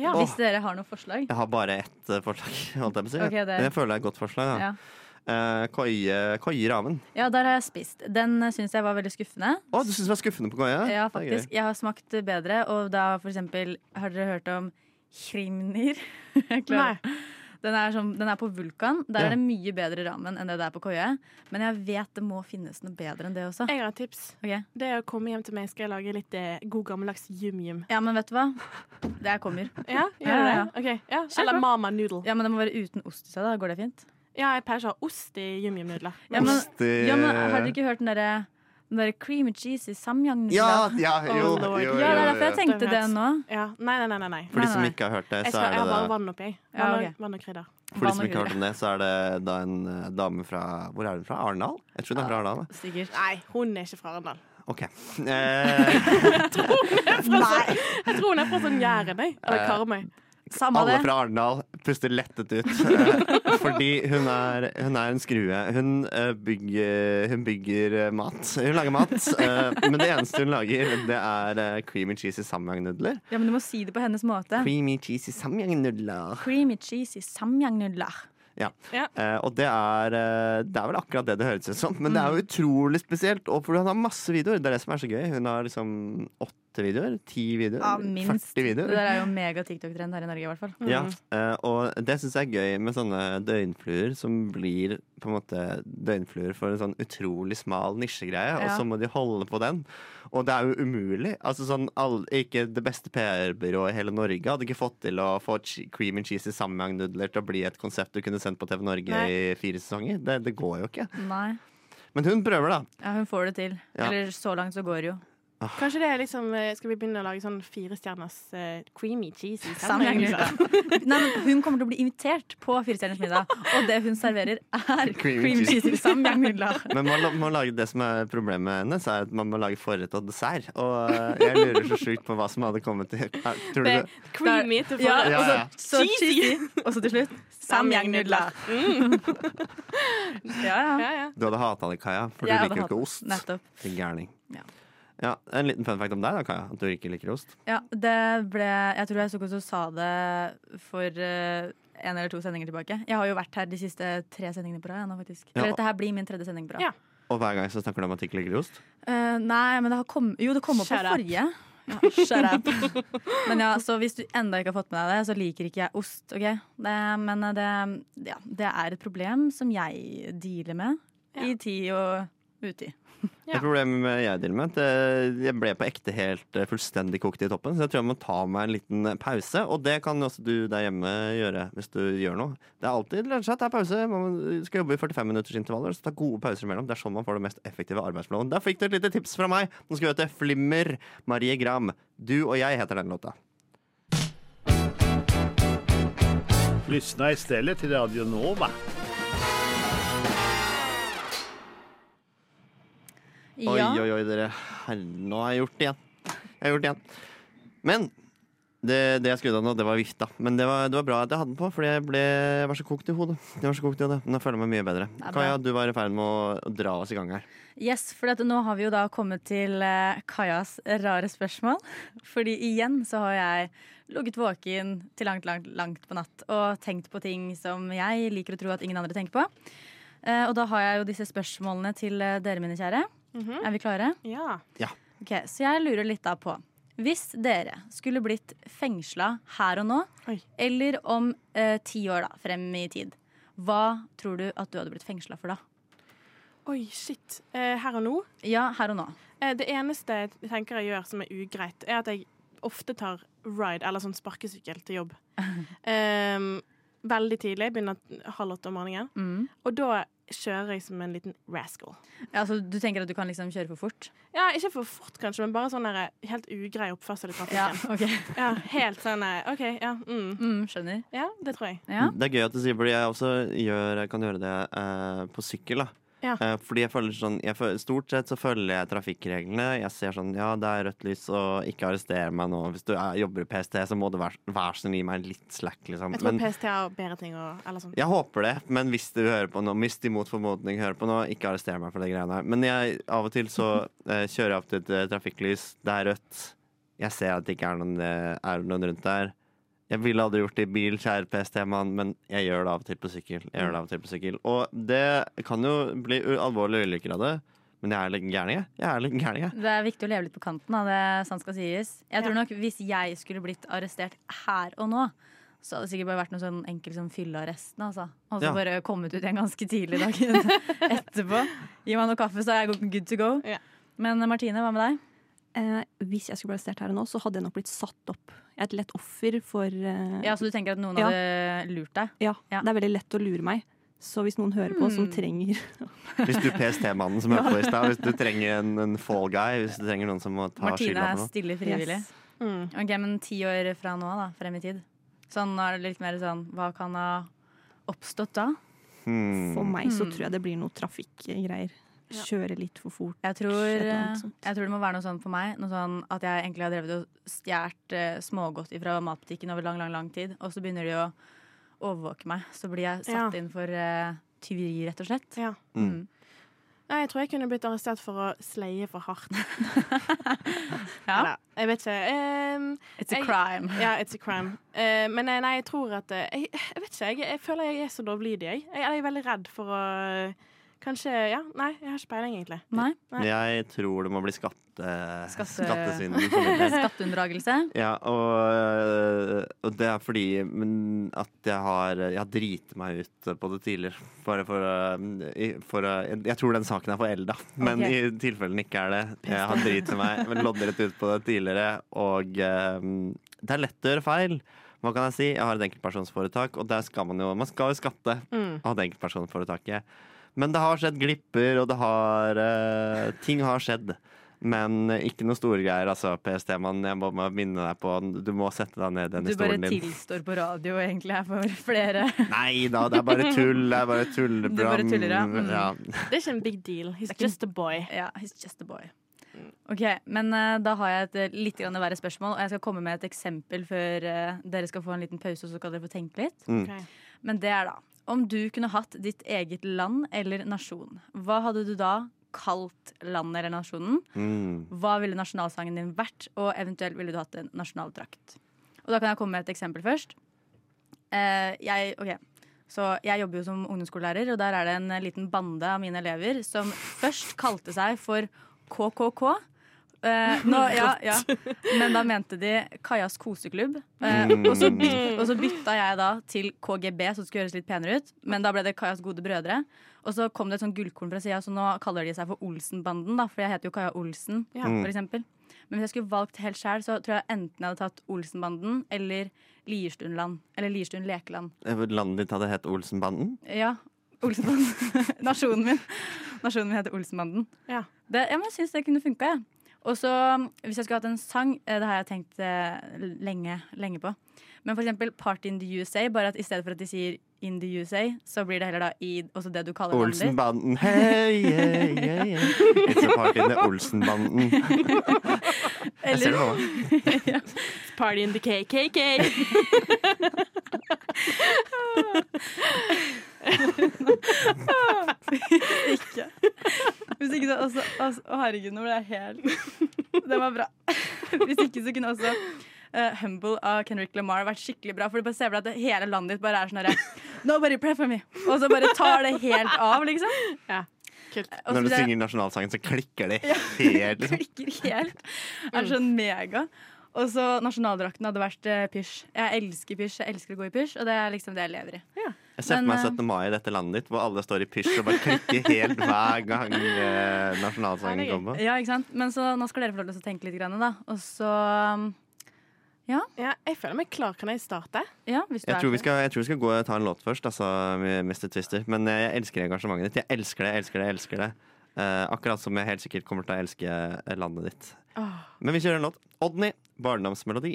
Speaker 6: Ja.
Speaker 7: Hvis dere har noen forslag.
Speaker 5: Jeg har bare ett eh, forslag. Holdt jeg på å si.
Speaker 7: Ok, det er-
Speaker 5: Men jeg føler det er et godt forslag. Da.
Speaker 7: Ja.
Speaker 5: Eh, koie, koie Ramen.
Speaker 7: ja, der har jeg spist. Den syns jeg var veldig skuffende.
Speaker 5: Å, du syns det var skuffende på koie?
Speaker 7: Ja,
Speaker 5: Det er gøy.
Speaker 7: faktisk. Jeg har smakt bedre, og da for eksempel Har dere hørt om Krimnir? Jeg klarer- Den er, som, den er på Vulkan. Der
Speaker 5: Ja.
Speaker 7: er det mye bedre ramen enn det det er på Køye. Men jeg vet det må finnes noe bedre enn det også.
Speaker 6: Jeg har et tips.
Speaker 7: Ok.
Speaker 6: Det er å komme hjem til meg skal jeg lage litt eh, god gammeldags yum-yum.
Speaker 7: Ja, men vet du hva? Det kommer.
Speaker 6: Ja,
Speaker 7: Ja,
Speaker 6: gjør det?
Speaker 7: ja.
Speaker 6: Ok, ja.
Speaker 7: Kjør på.
Speaker 6: Eller mama noodle.
Speaker 7: Ja, men det må være uten ost i seg, da. Går det fint?
Speaker 6: Ja, jeg pleier ikke å ha ost i yum-yum-nudler.
Speaker 7: Ja, men,
Speaker 5: Ost i-
Speaker 7: ja, men har dere ikke hørt den derre den derre cream and cheese i samyang?
Speaker 5: ja, ja, jo,
Speaker 6: Oh, lord.
Speaker 5: jo, jo,
Speaker 7: ja, det er derfor jeg
Speaker 5: jo.
Speaker 7: tenkte det nå.
Speaker 6: Ja. Nei, nei, nei. nei, nei.
Speaker 5: For de
Speaker 7: Nei,
Speaker 5: som
Speaker 7: nei.
Speaker 5: ikke har hørt det,
Speaker 6: Jeg,
Speaker 5: så
Speaker 6: skal,
Speaker 5: er
Speaker 6: jeg har
Speaker 5: det
Speaker 6: bare vann oppi. jeg.
Speaker 7: Ja,
Speaker 6: Vann, og-
Speaker 7: ok.
Speaker 6: vann og krydder.
Speaker 5: For de
Speaker 7: Vann
Speaker 5: som
Speaker 7: og
Speaker 5: ikke har hørt om det, så er det da en eh, dame fra Hvor er hun fra? Arendal? Jeg tror hun er fra Arendal. da.
Speaker 7: Sikkert.
Speaker 6: Nei, hun er ikke fra Arendal.
Speaker 5: OK. Eh,
Speaker 6: Nei. Jeg tror hun er fra sånn Jæren, jeg. Eller Karmøy.
Speaker 7: Samme
Speaker 5: alle
Speaker 7: det.
Speaker 5: fra Arendal puster lettet ut. eh, Fordi hun er, hun er en skrue. Hun eh, bygger, hun bygger eh, mat. Hun lager mat, eh, men det eneste hun lager, det er eh, creamy cheesy samyangnudler.
Speaker 7: Ja, men du må si det på hennes måte.
Speaker 5: Creamy cheesy samyangnudler.
Speaker 7: Creamy cheese i samyangnudler.
Speaker 5: Ja.
Speaker 6: Ja.
Speaker 5: Eh, og det er, eh, det er vel akkurat det det høres ut som, men det
Speaker 7: Mm.
Speaker 5: er jo utrolig spesielt. Og for hun har masse videoer. Det er det som er så gøy. Hun har liksom åtte videoer, ti videoer,
Speaker 7: Ja, minst.
Speaker 5: 40
Speaker 7: Det
Speaker 5: videoer.
Speaker 7: der er jo mega TikTok-trend her i Norge, i hvert fall.
Speaker 5: Ja, eh, og det syns jeg er gøy med sånne døgnfluer som blir på en måte døgnfluer for en sånn utrolig smal nisjegreie, og
Speaker 7: Ja.
Speaker 5: så må de holde på den. Og det er jo umulig. Altså sånn, all, Ikke det beste PR-byrået i hele Norge hadde ikke fått til å få che- cream and cheese i sammenhangnudler til å bli et konsept du kunne sendt på TV Norge i fire sesonger. Det, det går jo ikke.
Speaker 7: Nei.
Speaker 5: Men hun prøver, da.
Speaker 7: Ja, hun får det til.
Speaker 5: Ja.
Speaker 7: Eller så langt så går det jo.
Speaker 6: Kanskje det er liksom eh, Skal vi begynne å lage sånn firestjerners eh, creamy cheese? i sammenheng?
Speaker 7: Sammenhengen. Nei, men hun kommer til å bli invitert på Firestjerners middag, og det hun serverer, er
Speaker 5: Cream
Speaker 7: cream
Speaker 5: cheese.
Speaker 7: cheese i samyangnudler.
Speaker 5: Men man la- må lage det som er problemet hennes, er at man må lage forrett og dessert. Og eh, jeg lurer så sjukt på hva som hadde kommet til. Er- Tror du det?
Speaker 6: Creamy til
Speaker 7: Ja,
Speaker 6: forhold.
Speaker 5: Ja,
Speaker 7: og så,
Speaker 5: ja.
Speaker 7: så cheesy. Og så til slutt samyangnudler. Ja, ja.
Speaker 6: Ja, ja.
Speaker 5: Du hadde hata det, Kaja, for du
Speaker 7: Jeg hadde
Speaker 5: liker jo
Speaker 7: hatt-
Speaker 5: ikke ost.
Speaker 7: Nettopp.
Speaker 5: Din gærning.
Speaker 7: Ja.
Speaker 5: Ja, En liten fun fact om deg, da, Kaja. At du ikke liker ost.
Speaker 7: Ja, det ble Jeg tror jeg så godt sa det for eh, en eller to sendinger tilbake. Jeg har jo vært her de siste tre sendingene på rad. jeg nå, faktisk.
Speaker 5: Ja.
Speaker 7: Eller dette her blir min tredje sending på rad.
Speaker 6: Ja.
Speaker 5: Og hver gang så snakker du om at du ikke liker ost.
Speaker 7: Eh, nei, men det har kom, jo, det kom opp på
Speaker 6: Shut up.
Speaker 7: forrige. Shut up. Men ja, så hvis du enda ikke har fått med deg det, så liker ikke jeg ost. ok? Det, men eh, det, ja, det er et problem som jeg dealer med i tid og uti.
Speaker 5: Det problemet jeg dealer med, at eh, jeg ble på ekte helt eh, fullstendig kokt i toppen. Så jeg tror jeg må ta meg en liten eh, pause, og det kan også du der hjemme gjøre. hvis du gjør noe. Det er alltid lønner seg å ta pause. Man skal jobbe i 45 minutters intervaller, så ta gode pauser imellom. Det er sånn man får det mest effektive arbeidsflowen. Der fikk du et lite tips fra meg. Nå skal vi høre til Flimmer Marie Gram. Du og jeg heter den låta.
Speaker 10: Lyssna istället till Radio Nova.
Speaker 5: Oi,
Speaker 7: Ja.
Speaker 5: oi, oi, dere. Herre, Nå har jeg gjort det igjen. Jeg har gjort det igjen. Men det, det jeg skrudde av nå, det var vifta. Men det var, det var bra at jeg hadde den på, for jeg, ble, jeg var så kokt i hodet. Jeg var så kokt i hodet. Nå føler jeg meg mye bedre.
Speaker 7: er bra.
Speaker 5: Kaja, du var i ferd med å, å dra oss i gang her.
Speaker 7: Yes, for dette, nå har vi jo da kommet til eh, Kajas rare spørsmål. Fordi igjen så har jeg ligget våken til langt, langt, langt på natt og tenkt på ting som jeg liker å tro at ingen andre tenker på. Eh, og da har jeg jo disse spørsmålene til eh, dere, mine kjære. Er vi klare?
Speaker 6: Ja.
Speaker 7: Ok, Så jeg lurer litt da på. Hvis dere skulle blitt fengsla her og nå,
Speaker 6: Oi.
Speaker 7: eller om eh, ti år da, frem i tid, hva tror du at du hadde blitt fengsla for da?
Speaker 6: Oi, shit. Eh, her og nå.
Speaker 7: Ja, her og nå.
Speaker 6: Eh, det eneste jeg tenker jeg gjør som er ugreit, er at jeg ofte tar ride, eller sånn sparkesykkel, til jobb. Ehm, veldig tidlig. Begynner halv åtte om morgenen.
Speaker 7: Mm.
Speaker 6: Og da kjører jeg som en liten rascal.
Speaker 7: Ja, så du tenker at du kan liksom kjøre for fort?
Speaker 6: Ja, Ikke for fort, kanskje, men bare sånn der, helt ugrei oppførsel i
Speaker 7: Ja,
Speaker 6: trafikken.
Speaker 7: ok.
Speaker 6: Ja. helt sånn eh, OK, ja. Mm.
Speaker 7: Mm, skjønner.
Speaker 6: Ja, det tror jeg.
Speaker 7: Ja.
Speaker 5: Det er gøy at du sier fordi jeg også gjør, jeg kan gjøre det eh, på sykkel. da.
Speaker 6: Ja.
Speaker 5: Eh, fordi jeg føler sånn, jeg føler, Stort sett så følger jeg trafikkreglene. Jeg ser sånn ja, det er rødt lys, og ikke arrester meg nå. Hvis du er, jobber i PST, så må du være vær så snill gi meg litt slack, liksom.
Speaker 6: Jeg tror
Speaker 5: Men-
Speaker 6: PST har bedre ting å Eller sånn.
Speaker 5: Jeg håper det, men hvis du hører på nå, hvis de mot formodning hører på nå, ikke arrester meg for de greiene her. Men jeg, av og til så eh, kjører jeg opp til et eh, trafikklys, det er rødt. Jeg ser at det ikke er noen, eh, er noen rundt der. Jeg ville aldri gjort det i bil, kjære PST-mann, men jeg gjør det av og til på sykkel. Jeg gjør det av og til på sykkel. Og det kan jo bli u- alvorlige ulykker av det, men jeg er litt gæren, jeg. Jeg er litt gæren, jeg.
Speaker 7: Det er viktig å leve litt på kanten, da, det sant skal sies. Jeg tror
Speaker 6: Ja.
Speaker 7: nok hvis jeg skulle blitt arrestert her og nå, så hadde det sikkert bare vært noe sånn enkel sånn fyllearresten, altså. Og så
Speaker 5: Ja.
Speaker 7: bare kommet ut igjen ganske tidlig dagen etterpå. Gi meg noe kaffe, så er jeg good to go.
Speaker 6: Ja.
Speaker 7: Men eh, Martine, hva med deg?
Speaker 1: Eh, hvis jeg skulle blitt arrestert her og nå, så hadde jeg nok blitt satt opp. Jeg er et lett offer for eh,
Speaker 7: Ja, Så du tenker at noen
Speaker 1: Ja.
Speaker 7: hadde lurt deg?
Speaker 1: ja,
Speaker 7: Ja. Hmm.
Speaker 1: Det er veldig lett å lure meg. Så hvis noen hører på som trenger
Speaker 5: Hvis du PST-mannen som hørte på i stad, hvis du trenger en, en fall guy, hvis du trenger noen som må ta
Speaker 7: Martine
Speaker 5: skylda
Speaker 7: er
Speaker 5: for noe.
Speaker 7: stille frivillig.
Speaker 1: Yes.
Speaker 6: Mm.
Speaker 7: Ok, Men ti år fra nå, da? Frem i tid? Sånn, nå er det litt mer sånn Hva kan ha oppstått da?
Speaker 5: Hmm.
Speaker 1: For meg så tror jeg det blir noe trafikkgreier. Kjøre litt for fort.
Speaker 7: Jeg tror, eh,
Speaker 1: Et eller annet
Speaker 7: jeg
Speaker 1: sånt.
Speaker 7: tror det må være noe sånn for meg. Noe sånn at jeg egentlig har drevet og stjålet eh, smågodt fra matbutikken over lang lang, lang tid. Og så begynner de å overvåke meg. Så blir jeg
Speaker 6: Ja.
Speaker 7: satt inn for eh, tyveri, rett og slett.
Speaker 6: Ja.
Speaker 5: Mm.
Speaker 6: Nei, jeg tror jeg kunne blitt arrestert for å sleie for hardt.
Speaker 7: Ja.
Speaker 6: Eller, jeg vet ikke. Ehm,
Speaker 7: It's a
Speaker 6: Jeg-
Speaker 7: crime.
Speaker 6: ja, it's a crime. Eh, men eh, nei, jeg tror at eh, Jeg, jeg vet ikke. Jeg, jeg føler jeg er så lovlydig, jeg. jeg. Jeg er veldig redd for å Kanskje Ja, nei, jeg har ikke peiling, egentlig.
Speaker 7: Nei.
Speaker 6: Nei.
Speaker 5: Jeg tror det må bli skatte,
Speaker 7: Skatte-
Speaker 5: skattesvindel. for min del.
Speaker 7: Skatteunndragelse.
Speaker 5: Ja, og, og det er fordi men, at jeg har Jeg har driti meg ut på det tidligere. Bare for, å- i- for å- Jeg tror den saken er for elda, men
Speaker 7: Ok.
Speaker 5: i tilfelle den ikke er det. Jeg har driti meg men loddrett ut på det tidligere, og eh, det er lett å gjøre feil. Hva kan jeg si? Jeg har et enkeltpersonsforetak, og der skal man jo Man skal jo skatte
Speaker 6: Mm.
Speaker 5: av det enkeltpersonforetaket. Men det har skjedd glipper, og det har eh, Ting har skjedd. Men ikke noe store greier, altså, PST-mann. Jeg må bare minne deg på Du må sette deg ned i den
Speaker 7: Du bare
Speaker 5: historien din.
Speaker 7: tilstår på radio egentlig her for flere.
Speaker 5: Nei da, det er bare tull. Det er bare tulleprogram.
Speaker 7: Du bare tuller, ja. Mm.
Speaker 5: ja.
Speaker 6: Det er ikke en big deal. He's
Speaker 7: Det er ikke-
Speaker 6: just a boy.
Speaker 7: Ja, he's just a boy. Ok, men eh, Da har jeg et eh, litt grann verre spørsmål, og jeg skal komme med et eksempel før eh, dere skal få en liten pause. og så skal dere få tenke litt.
Speaker 5: Mm.
Speaker 6: Ok.
Speaker 7: Men det er da Om du kunne hatt ditt eget land eller nasjon, hva hadde du da kalt landet eller nasjonen?
Speaker 5: Mm.
Speaker 7: Hva ville nasjonalsangen din vært, og eventuelt ville du hatt en nasjonaldrakt? Og da kan jeg komme med et eksempel først. Eh, jeg, ok, så jeg jobber jo som ungdomsskolelærer, og der er det en liten bande av mine elever som først kalte seg for KKK. Eh, nå, ja, ja. Men da mente de Kajas koseklubb. Eh,
Speaker 11: Mm.
Speaker 7: og, så byt, og så bytta jeg da til KGB, så det skulle høres litt penere ut. Men da ble det Kajas gode brødre. Og så kom det et sånt gullkorn fra sida, så nå kaller de seg for Olsenbanden. da, For jeg heter jo Kaja Olsen,
Speaker 11: Ja. Mm.
Speaker 7: for eksempel. Men hvis jeg skulle valgt helt sjæl, så tror jeg enten jeg hadde tatt Olsenbanden eller Lierstundland. Eller Lierstund Lekeland.
Speaker 5: Landet ditt hadde hett Olsenbanden?
Speaker 7: Ja. Olsenbanden. Nasjonen min. Nasjonen min heter Olsenbanden. Det, ja, men jeg syns det kunne funka, jeg. Og så, hvis jeg skulle hatt en sang, eh, det har jeg tenkt eh, lenge, lenge på. Men for eksempel Party in the USA, bare at i stedet for at de sier In the USA, så blir det heller da i også det du kaller landet ditt.
Speaker 5: Olsenbanden, hei, yeah, yeah, yeah. It's a party in the Olsenbanden. Jeg ser det for meg.
Speaker 6: Party in the KKK.
Speaker 7: ikke. Hvis ikke så også, også Å, herregud, nå ble jeg helt Det var bra. Hvis ikke så kunne også eh, Humble av Kendrick Lamar vært skikkelig bra. For du bare ser for deg at hele landet ditt bare er sånn herre Nobody pray for me. Og så bare tar det helt av, liksom.
Speaker 6: Ja,
Speaker 5: Når du synger nasjonalsangen, så klikker det helt. liksom.
Speaker 7: Klikker helt. Er sånn mega. Og så nasjonaldrakten hadde vært eh, pysj. Jeg elsker pysj. Jeg elsker å gå i pysj, og det er liksom det jeg lever i.
Speaker 5: Jeg ser for
Speaker 7: Men,
Speaker 5: meg
Speaker 7: eh,
Speaker 5: 17. mai i dette landet ditt, hvor alle står i pysj og bare klikker helt hver gang eh, nasjonalsangen kommer.
Speaker 7: Ja, ikke sant? Men så nå skal dere få lov til å tenke litt, grann, da. Og så ja.
Speaker 6: Jeg føler meg klar. Kan jeg starte?
Speaker 7: Ja, hvis du
Speaker 5: Jeg
Speaker 7: er
Speaker 5: tror, vi
Speaker 7: klar.
Speaker 5: skal, jeg tror vi skal gå og ta en låt først, altså, Mr. Twister. Men eh, jeg elsker engasjementet ditt. Jeg elsker det, jeg elsker det, jeg elsker det. Eh, akkurat som jeg helt sikkert kommer til å elske eh, landet ditt.
Speaker 6: Åh.
Speaker 5: Men vi kjører en låt. Odny, 'Barndomsmelodi'.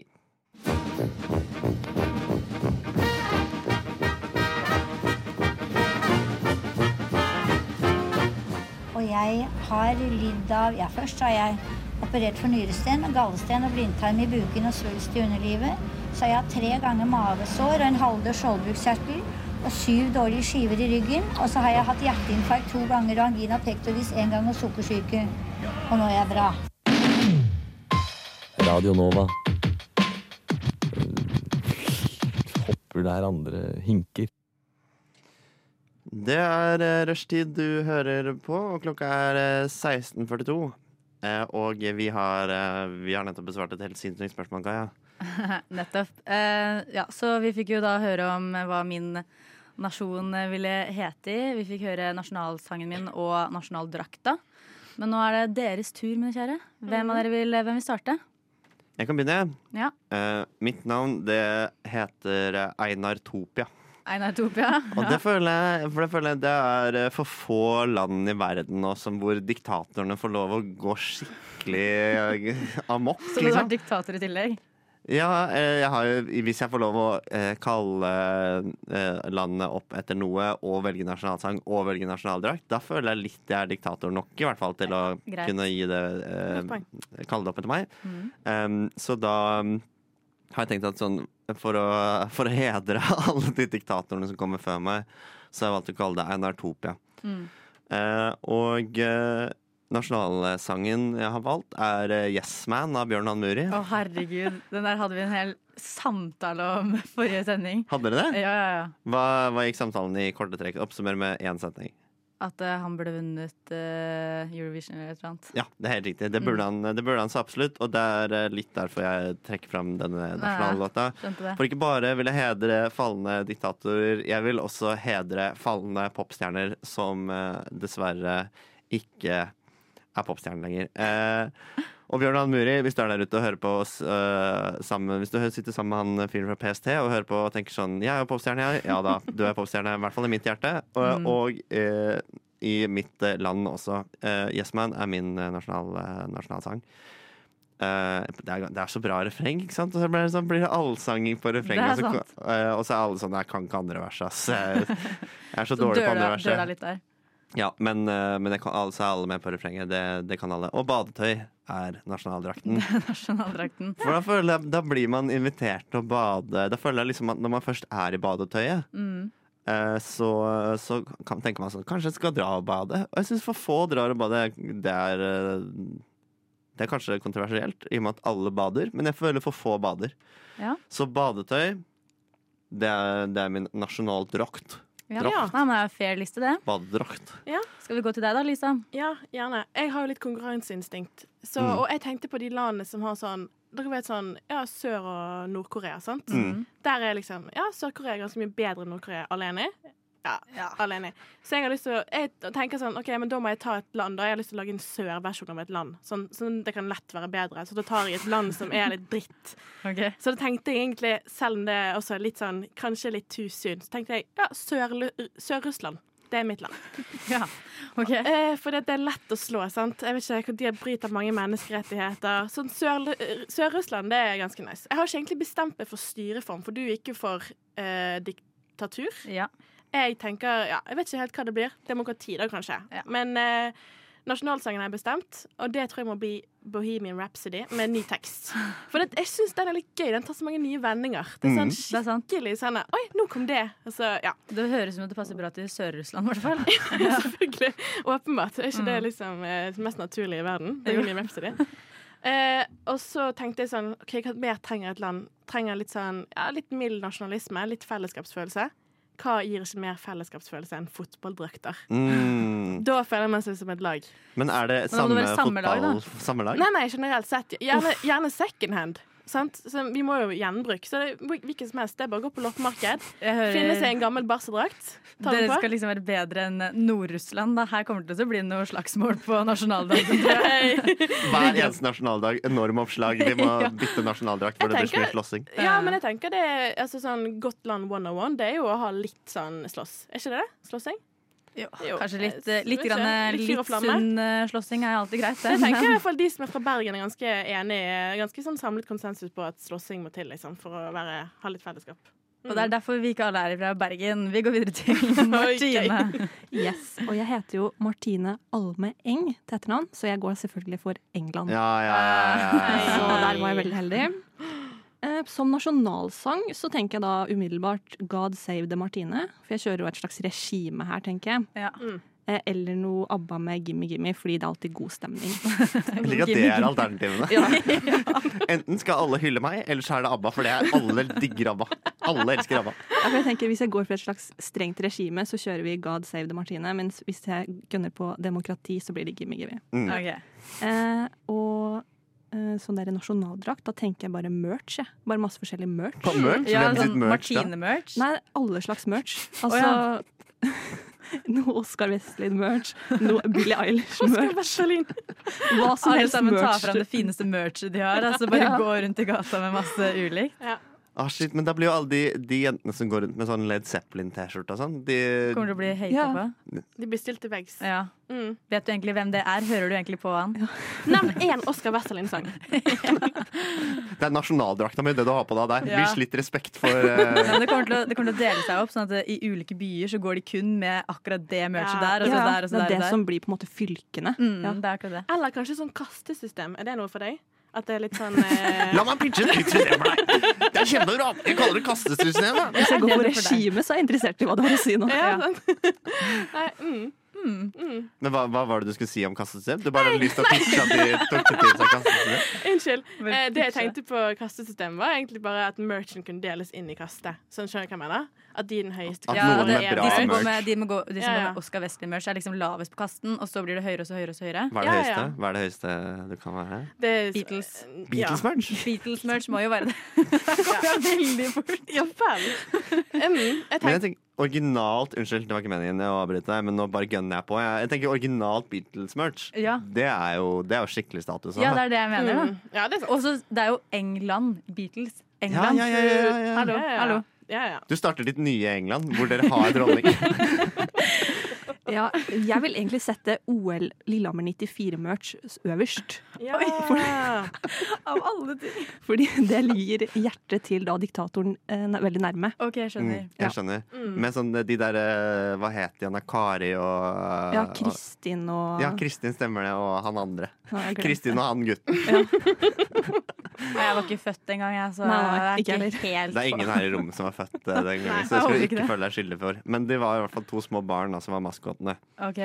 Speaker 12: Og jeg har lidd av Ja, først har jeg operert for nyresten, gallesten og blindtarm i buken og svulst i underlivet. Så har jeg hatt tre ganger mavesår og en halvdød skjoldbruskkjertel og syv dårlige skiver i ryggen. Og så har jeg hatt hjerteinfarkt to ganger og angina pectoris én gang og sukkersyke. Og nå er jeg bra.
Speaker 13: Radio Nova. Hopper der andre hinker.
Speaker 5: Det er eh, rushtid du hører på, og klokka er eh, 16.42. Eh, og vi har, eh, vi har nettopp besvart et helt sinnssykt spørsmål, Kaja.
Speaker 7: Nettopp. Eh, ja, så vi fikk jo da høre om eh, hva min nasjon eh, ville hete i. Vi fikk høre nasjonalsangen min og nasjonaldrakta. Men nå er det deres tur, mine kjære. Hvem av dere vil, eh, hvem vil starte?
Speaker 5: Jeg kan begynne. jeg.
Speaker 7: Ja,
Speaker 5: Eh, mitt navn det heter eh, Einar Topia.
Speaker 7: Einar Topia.
Speaker 5: Og det føler jeg, for det føler jeg det er eh, for få land i verden nå som hvor diktatorene får lov å gå skikkelig eh, amok.
Speaker 7: Så du har vært diktator i tillegg?
Speaker 5: Ja, eh, jeg har, jo- hvis jeg får lov å eh, kalle eh, landet opp etter noe og velge nasjonalsang og velge nasjonaldrakt, da føler jeg litt jeg er diktator nok, i hvert fall, til å
Speaker 14: greit.
Speaker 5: kunne gi det,
Speaker 14: Godt poeng. Mm.
Speaker 5: eh, kalle det opp etter meg. Um, så da um, har jeg tenkt at sånn for å, for å hedre alle de diktatorene som kommer før meg, så har jeg valgt å kalle det Einartopia.
Speaker 14: Mm.
Speaker 5: Eh, og eh, nasjonalsangen jeg har valgt, er eh, Yes Man av Bjørn Han Muri.
Speaker 7: Å, herregud. Den der hadde vi en hel samtale om forrige sending.
Speaker 5: Hadde dere det?
Speaker 7: Ja, ja, ja.
Speaker 5: Hva, hva gikk samtalen i korte trekk? Oppsummer med én setning.
Speaker 7: At eh, han burde vunnet eh, Eurovision eller et eller annet.
Speaker 5: Ja, det er helt riktig. Det burde, han, det burde han så absolutt, og det er eh, litt derfor jeg trekker fram denne nasjonallåta.
Speaker 7: skjønte det.
Speaker 5: For ikke bare vil jeg hedre falne diktatorer, jeg vil også hedre falne popstjerner som eh, dessverre ikke er popstjerner lenger. Eh, og Bjørn Ann Muri, hvis du er der ute og hører på oss eh, sammen Hvis du hø- sitter sammen med han fyren fra PST og hører på og tenker sånn Jeg er jo popstjerne, jeg. Ja da, du er popstjerne. I hvert fall i mitt hjerte. Og,
Speaker 14: Mm.
Speaker 5: og eh, i mitt eh, land også. Eh, yes Man er min eh, nasjonal, eh, nasjonalsang. Eh, det, er, det er så bra refreng, ikke sant? Og så blir det, sånn, blir det allsanging på refrenget. Og,
Speaker 7: Det er
Speaker 5: så-
Speaker 7: sant.
Speaker 5: eh, og så er alle sånn Jeg kan ikke andre vers, ass. Jeg jeg er så,
Speaker 7: Så
Speaker 5: dårlig på
Speaker 7: døla-
Speaker 5: andre
Speaker 7: døla
Speaker 5: verset.
Speaker 7: litt der.
Speaker 5: Ja, men, eh, men det kan, altså er alle med på refrenget. Det, det kan alle. Og badetøy er nasjonaldrakten.
Speaker 7: Nasjonaldrakten.
Speaker 5: For da, føler jeg, da blir man invitert til å bade. Da føler jeg liksom at Når man først er i badetøyet,
Speaker 7: Mm.
Speaker 5: eh, så, så kan, tenker man sånn Kanskje jeg skal dra og bade? Og jeg syns for få drar og bader. Det er, eh, det er kanskje kontroversielt, i og med at alle bader, men jeg føler for få bader.
Speaker 7: Ja.
Speaker 5: Så badetøy, det er, det er min nasjonaldrakt.
Speaker 7: Ja.
Speaker 5: Drakt.
Speaker 7: Nei, men det er en fair liste, det.
Speaker 5: Badedrakt.
Speaker 6: Ja.
Speaker 7: Skal vi gå til deg da, Lisa?
Speaker 6: Ja, gjerne. Jeg har jo litt konkurranseinstinkt. Så,
Speaker 7: Mm.
Speaker 6: Og jeg tenkte på de landene som har sånn Dere vet sånn ja, Sør- og Nord-Korea, sant?
Speaker 11: Mm.
Speaker 6: Der er liksom Ja, Sør-Korea er ganske mye bedre enn Nord-Korea. Alle er enig? Ja, alle er enig. Så jeg har lyst til å Jeg tenker sånn OK, men da må jeg ta et land. Da har jeg lyst til å lage en sørversjon av et land. Sånn, sånn det kan lett være bedre. Så da tar jeg et land som er litt dritt. Så da tenkte jeg egentlig, selv om det er også litt sånn, kanskje litt too soon, så tenkte jeg ja, Sør- Sør-Russland. det er mitt land.
Speaker 7: ja, ok.
Speaker 6: Eh, for det er lett å slå, sant? Jeg vet ikke, De bryter mange menneskerettigheter. Sånn Sør- Sør-Russland, det er ganske nice. Jeg har ikke egentlig bestemt meg for styreform, for du gikk jo for eh, diktatur. Jeg tenker, ja, jeg vet ikke helt hva det blir. Demokrati, da, kanskje. Men eh, nasjonalsangen har jeg bestemt, og det tror jeg må bli Bohemian Rhapsody med ny tekst. For det, jeg syns den er litt gøy. Den tar så mange nye vendinger. Det er
Speaker 7: Mhm.
Speaker 6: sånn skikkelig sånn Oi, nå kom det! Altså, ja.
Speaker 7: Det høres ut som at det passer bra til Sør-Russland, i hvert fall.
Speaker 6: Åpenbart. Er ikke det
Speaker 7: Mm.
Speaker 6: liksom eh, det mest naturlige i verden? Bohemian Rhapsody. Eh, og så tenkte jeg sånn OK, hva mer trenger et land? Trenger litt sånn ja, litt mild nasjonalisme, litt fellesskapsfølelse. Hva gir ikke mer fellesskapsfølelse enn fotballdrakter?
Speaker 5: Mm.
Speaker 6: Da føler man seg som et lag.
Speaker 5: Men er det
Speaker 6: Men da må
Speaker 5: samme,
Speaker 6: det være samme lag, da.
Speaker 5: fotball... Samme lag?
Speaker 6: Nei, nei, generelt sett. Gjerne, gjerne second hand. Sant? Så vi må jo gjenbruke. Så det, hvilken som helst. Det er bare å gå på loppemarked,
Speaker 7: hører-
Speaker 6: finne seg en gammel barseldrakt, ta den
Speaker 7: Dere
Speaker 6: på.
Speaker 7: Eh. skal liksom være bedre enn Nord-Russland. da. Her kommer det til å bli noe slagsmål på nasjonaldagen. tror jeg.
Speaker 5: Hver eneste nasjonaldag. Enorme oppslag. Vi må
Speaker 7: Ja.
Speaker 5: bytte nasjonaldrakt, for det blir så mye slåssing.
Speaker 6: Ja, men jeg tenker det er altså, sånn Gotland 101. Det er jo å ha litt sånn slåss. Er ikke det det? Slåssing? Jo.
Speaker 7: Kanskje litt,
Speaker 6: Eh,
Speaker 7: litt,
Speaker 6: vet ikke.
Speaker 7: grann, litt,
Speaker 6: fyr og flamme.
Speaker 7: sunn eh, slåssing er alltid greit. det.
Speaker 6: Jeg tenker i hvert fall de som er fra Bergen er ganske enig Ganske sånn samlet konsensus på at slåssing må til liksom, for å være, ha litt fellesskap.
Speaker 7: Og det er derfor vi ikke alle er fra Bergen. Vi går videre til Martine.
Speaker 1: Yes, Og jeg heter jo Martine Alme Eng til etternavn, så jeg går selvfølgelig for England.
Speaker 5: Ja, ja, ja, ja, ja.
Speaker 1: Så der var jeg veldig heldig. Eh, Som nasjonalsang så tenker jeg da umiddelbart 'God save the Martine'. For jeg kjører jo et slags regime her, tenker jeg.
Speaker 6: Mm.
Speaker 1: Eh, Eller noe ABBA med 'Gimme Gimme', fordi det er alltid god stemning.
Speaker 5: Jeg liker at det er alternativene. Enten skal alle hylle meg, eller så er det ABBA, for det er alle digger ABBA. Alle elsker ABBA.
Speaker 1: Ja, for jeg tenker Hvis jeg går for et slags strengt regime, så kjører vi 'God save the Martine'. Mens hvis jeg gønner på demokrati, så blir det 'Gimme Gimme'.
Speaker 5: Mm.
Speaker 1: Eh, og eh, sånn der nasjonaldrakt, da tenker jeg bare merch. Jeg. Bare masse forskjellig merch.
Speaker 5: Hva, merch? Ja, Hvem sånn sitt merch, da?
Speaker 7: Martine-merch?
Speaker 1: Nei, alle slags merch.
Speaker 7: Å,
Speaker 1: Altså
Speaker 7: ja.
Speaker 1: Noe Oscar Westlin-merch, noe Billie Eilish-merch. Hva som
Speaker 7: Alle
Speaker 1: helst
Speaker 7: sammen tar
Speaker 1: merch.
Speaker 7: fram det fineste merchet de har. Altså bare
Speaker 1: Ja.
Speaker 7: gå rundt i gata med masse ulikt.
Speaker 5: Ah, shit, men da blir jo alle de, de jentene som går rundt med sånn Led Zeppelin-T-skjorte og sånn, de
Speaker 7: Kommer til å bli hatet på.
Speaker 6: De blir stilt til veggs.
Speaker 7: Ja.
Speaker 6: Mm.
Speaker 7: Vet du egentlig hvem det er? Hører du egentlig på han?
Speaker 6: Nevn én Oscar Westerlin-sang.
Speaker 5: Det er nasjonaldrakta mi, det du har på deg der.
Speaker 7: Ja.
Speaker 5: Vis litt respekt for
Speaker 7: Ja,
Speaker 5: eh,
Speaker 7: men det, kommer til å, det kommer til å dele seg opp, sånn at eh, i ulike byer så går de kun med akkurat Altså, det merchet der. Og så
Speaker 1: Ja,
Speaker 7: der, og så der,
Speaker 1: det er
Speaker 7: og
Speaker 1: det
Speaker 7: der.
Speaker 1: som blir på en måte fylkene.
Speaker 7: Mm,
Speaker 1: Ja.
Speaker 7: Det er akkurat det.
Speaker 6: Eller kanskje sånn kastesystem. Er det noe for deg? At det er litt sånn eh,
Speaker 5: La meg pitche et nytt system for deg! Det er kjempebra! Jeg kaller det kastestussystem. jeg.
Speaker 1: Hvis jeg går for regime, så er jeg interessert i hva du har å si nå.
Speaker 6: Ja, sant. Nei, mm. Mm.
Speaker 5: Men hva, hva var det du skulle si om kastesystem? Du bare hadde lyst til å pitche at de tok det til seg kastesystem?
Speaker 6: Unnskyld. Eh, det jeg
Speaker 7: pitche.
Speaker 6: tenkte på kastesystemet, var egentlig bare at merchen kunne deles inn i kastet. Sånn skjønner jeg hva jeg mener? At de er den høyeste.
Speaker 5: At
Speaker 7: Ja,
Speaker 5: noen
Speaker 7: det,
Speaker 5: med bra
Speaker 7: de som går
Speaker 5: merch.
Speaker 7: med, de må gå, de som
Speaker 6: Ja,
Speaker 7: går
Speaker 6: ja.
Speaker 7: med Oscar Westley-merch, er liksom lavest på kasten, og så blir det høyere og så høyere. og så høyere
Speaker 5: Hva er det høyeste? Hva er det høyeste du kan være?
Speaker 7: Beatles.
Speaker 6: eh,
Speaker 5: Beatles-merch?
Speaker 7: Beatles-merch må jo være det.
Speaker 6: Veldig fort. Ja vel. Mm, jeg
Speaker 5: Men jeg
Speaker 6: tenkte
Speaker 5: tenker originalt Unnskyld, det var ikke meningen å avbryte deg, men nå bare gønner jeg på. Jeg, jeg tenker originalt Beatles-merch.
Speaker 7: Ja.
Speaker 5: Det, er jo- det er jo skikkelig status. altså.
Speaker 7: Ja, det er det jeg mener,
Speaker 6: Mm. da.
Speaker 7: Og så det er jo England. Beatles. England.
Speaker 5: Ja, ja, ja, ja, ja.
Speaker 7: Hallo.
Speaker 5: Ja, ja, ja.
Speaker 7: hallo.
Speaker 5: Du starter ditt nye England, hvor dere har dronning.
Speaker 1: Ja, jeg vil egentlig sette OL Lillehammer 94-merch øverst.
Speaker 6: Ja.
Speaker 7: Av alle ting.
Speaker 1: Fordi det ligger hjertet til da diktatoren eh, ne- veldig nærme.
Speaker 7: Ok, jeg
Speaker 5: Mm, jeg skjønner. Med sånn eh, de der eh, Hva het de? Anna Kari og
Speaker 1: Ja, Kristin og
Speaker 5: Ja, Kristin stemmer det, og han andre.
Speaker 1: Ja, jeg glemte.
Speaker 5: Kristin og han gutten.
Speaker 7: Og jeg var ikke født engang, jeg, så
Speaker 1: Nei, nei,
Speaker 7: jeg
Speaker 1: ikke
Speaker 7: er
Speaker 1: heller.
Speaker 7: ikke helt
Speaker 5: Det er ingen her i rommet som var født eh, den gangen, så jeg
Speaker 7: jeg håper
Speaker 5: skulle
Speaker 7: ikke
Speaker 5: ikke
Speaker 7: det.
Speaker 5: føle deg skyldig for. Men de var i hvert fall to små barn da, som var maskotene.
Speaker 7: OK.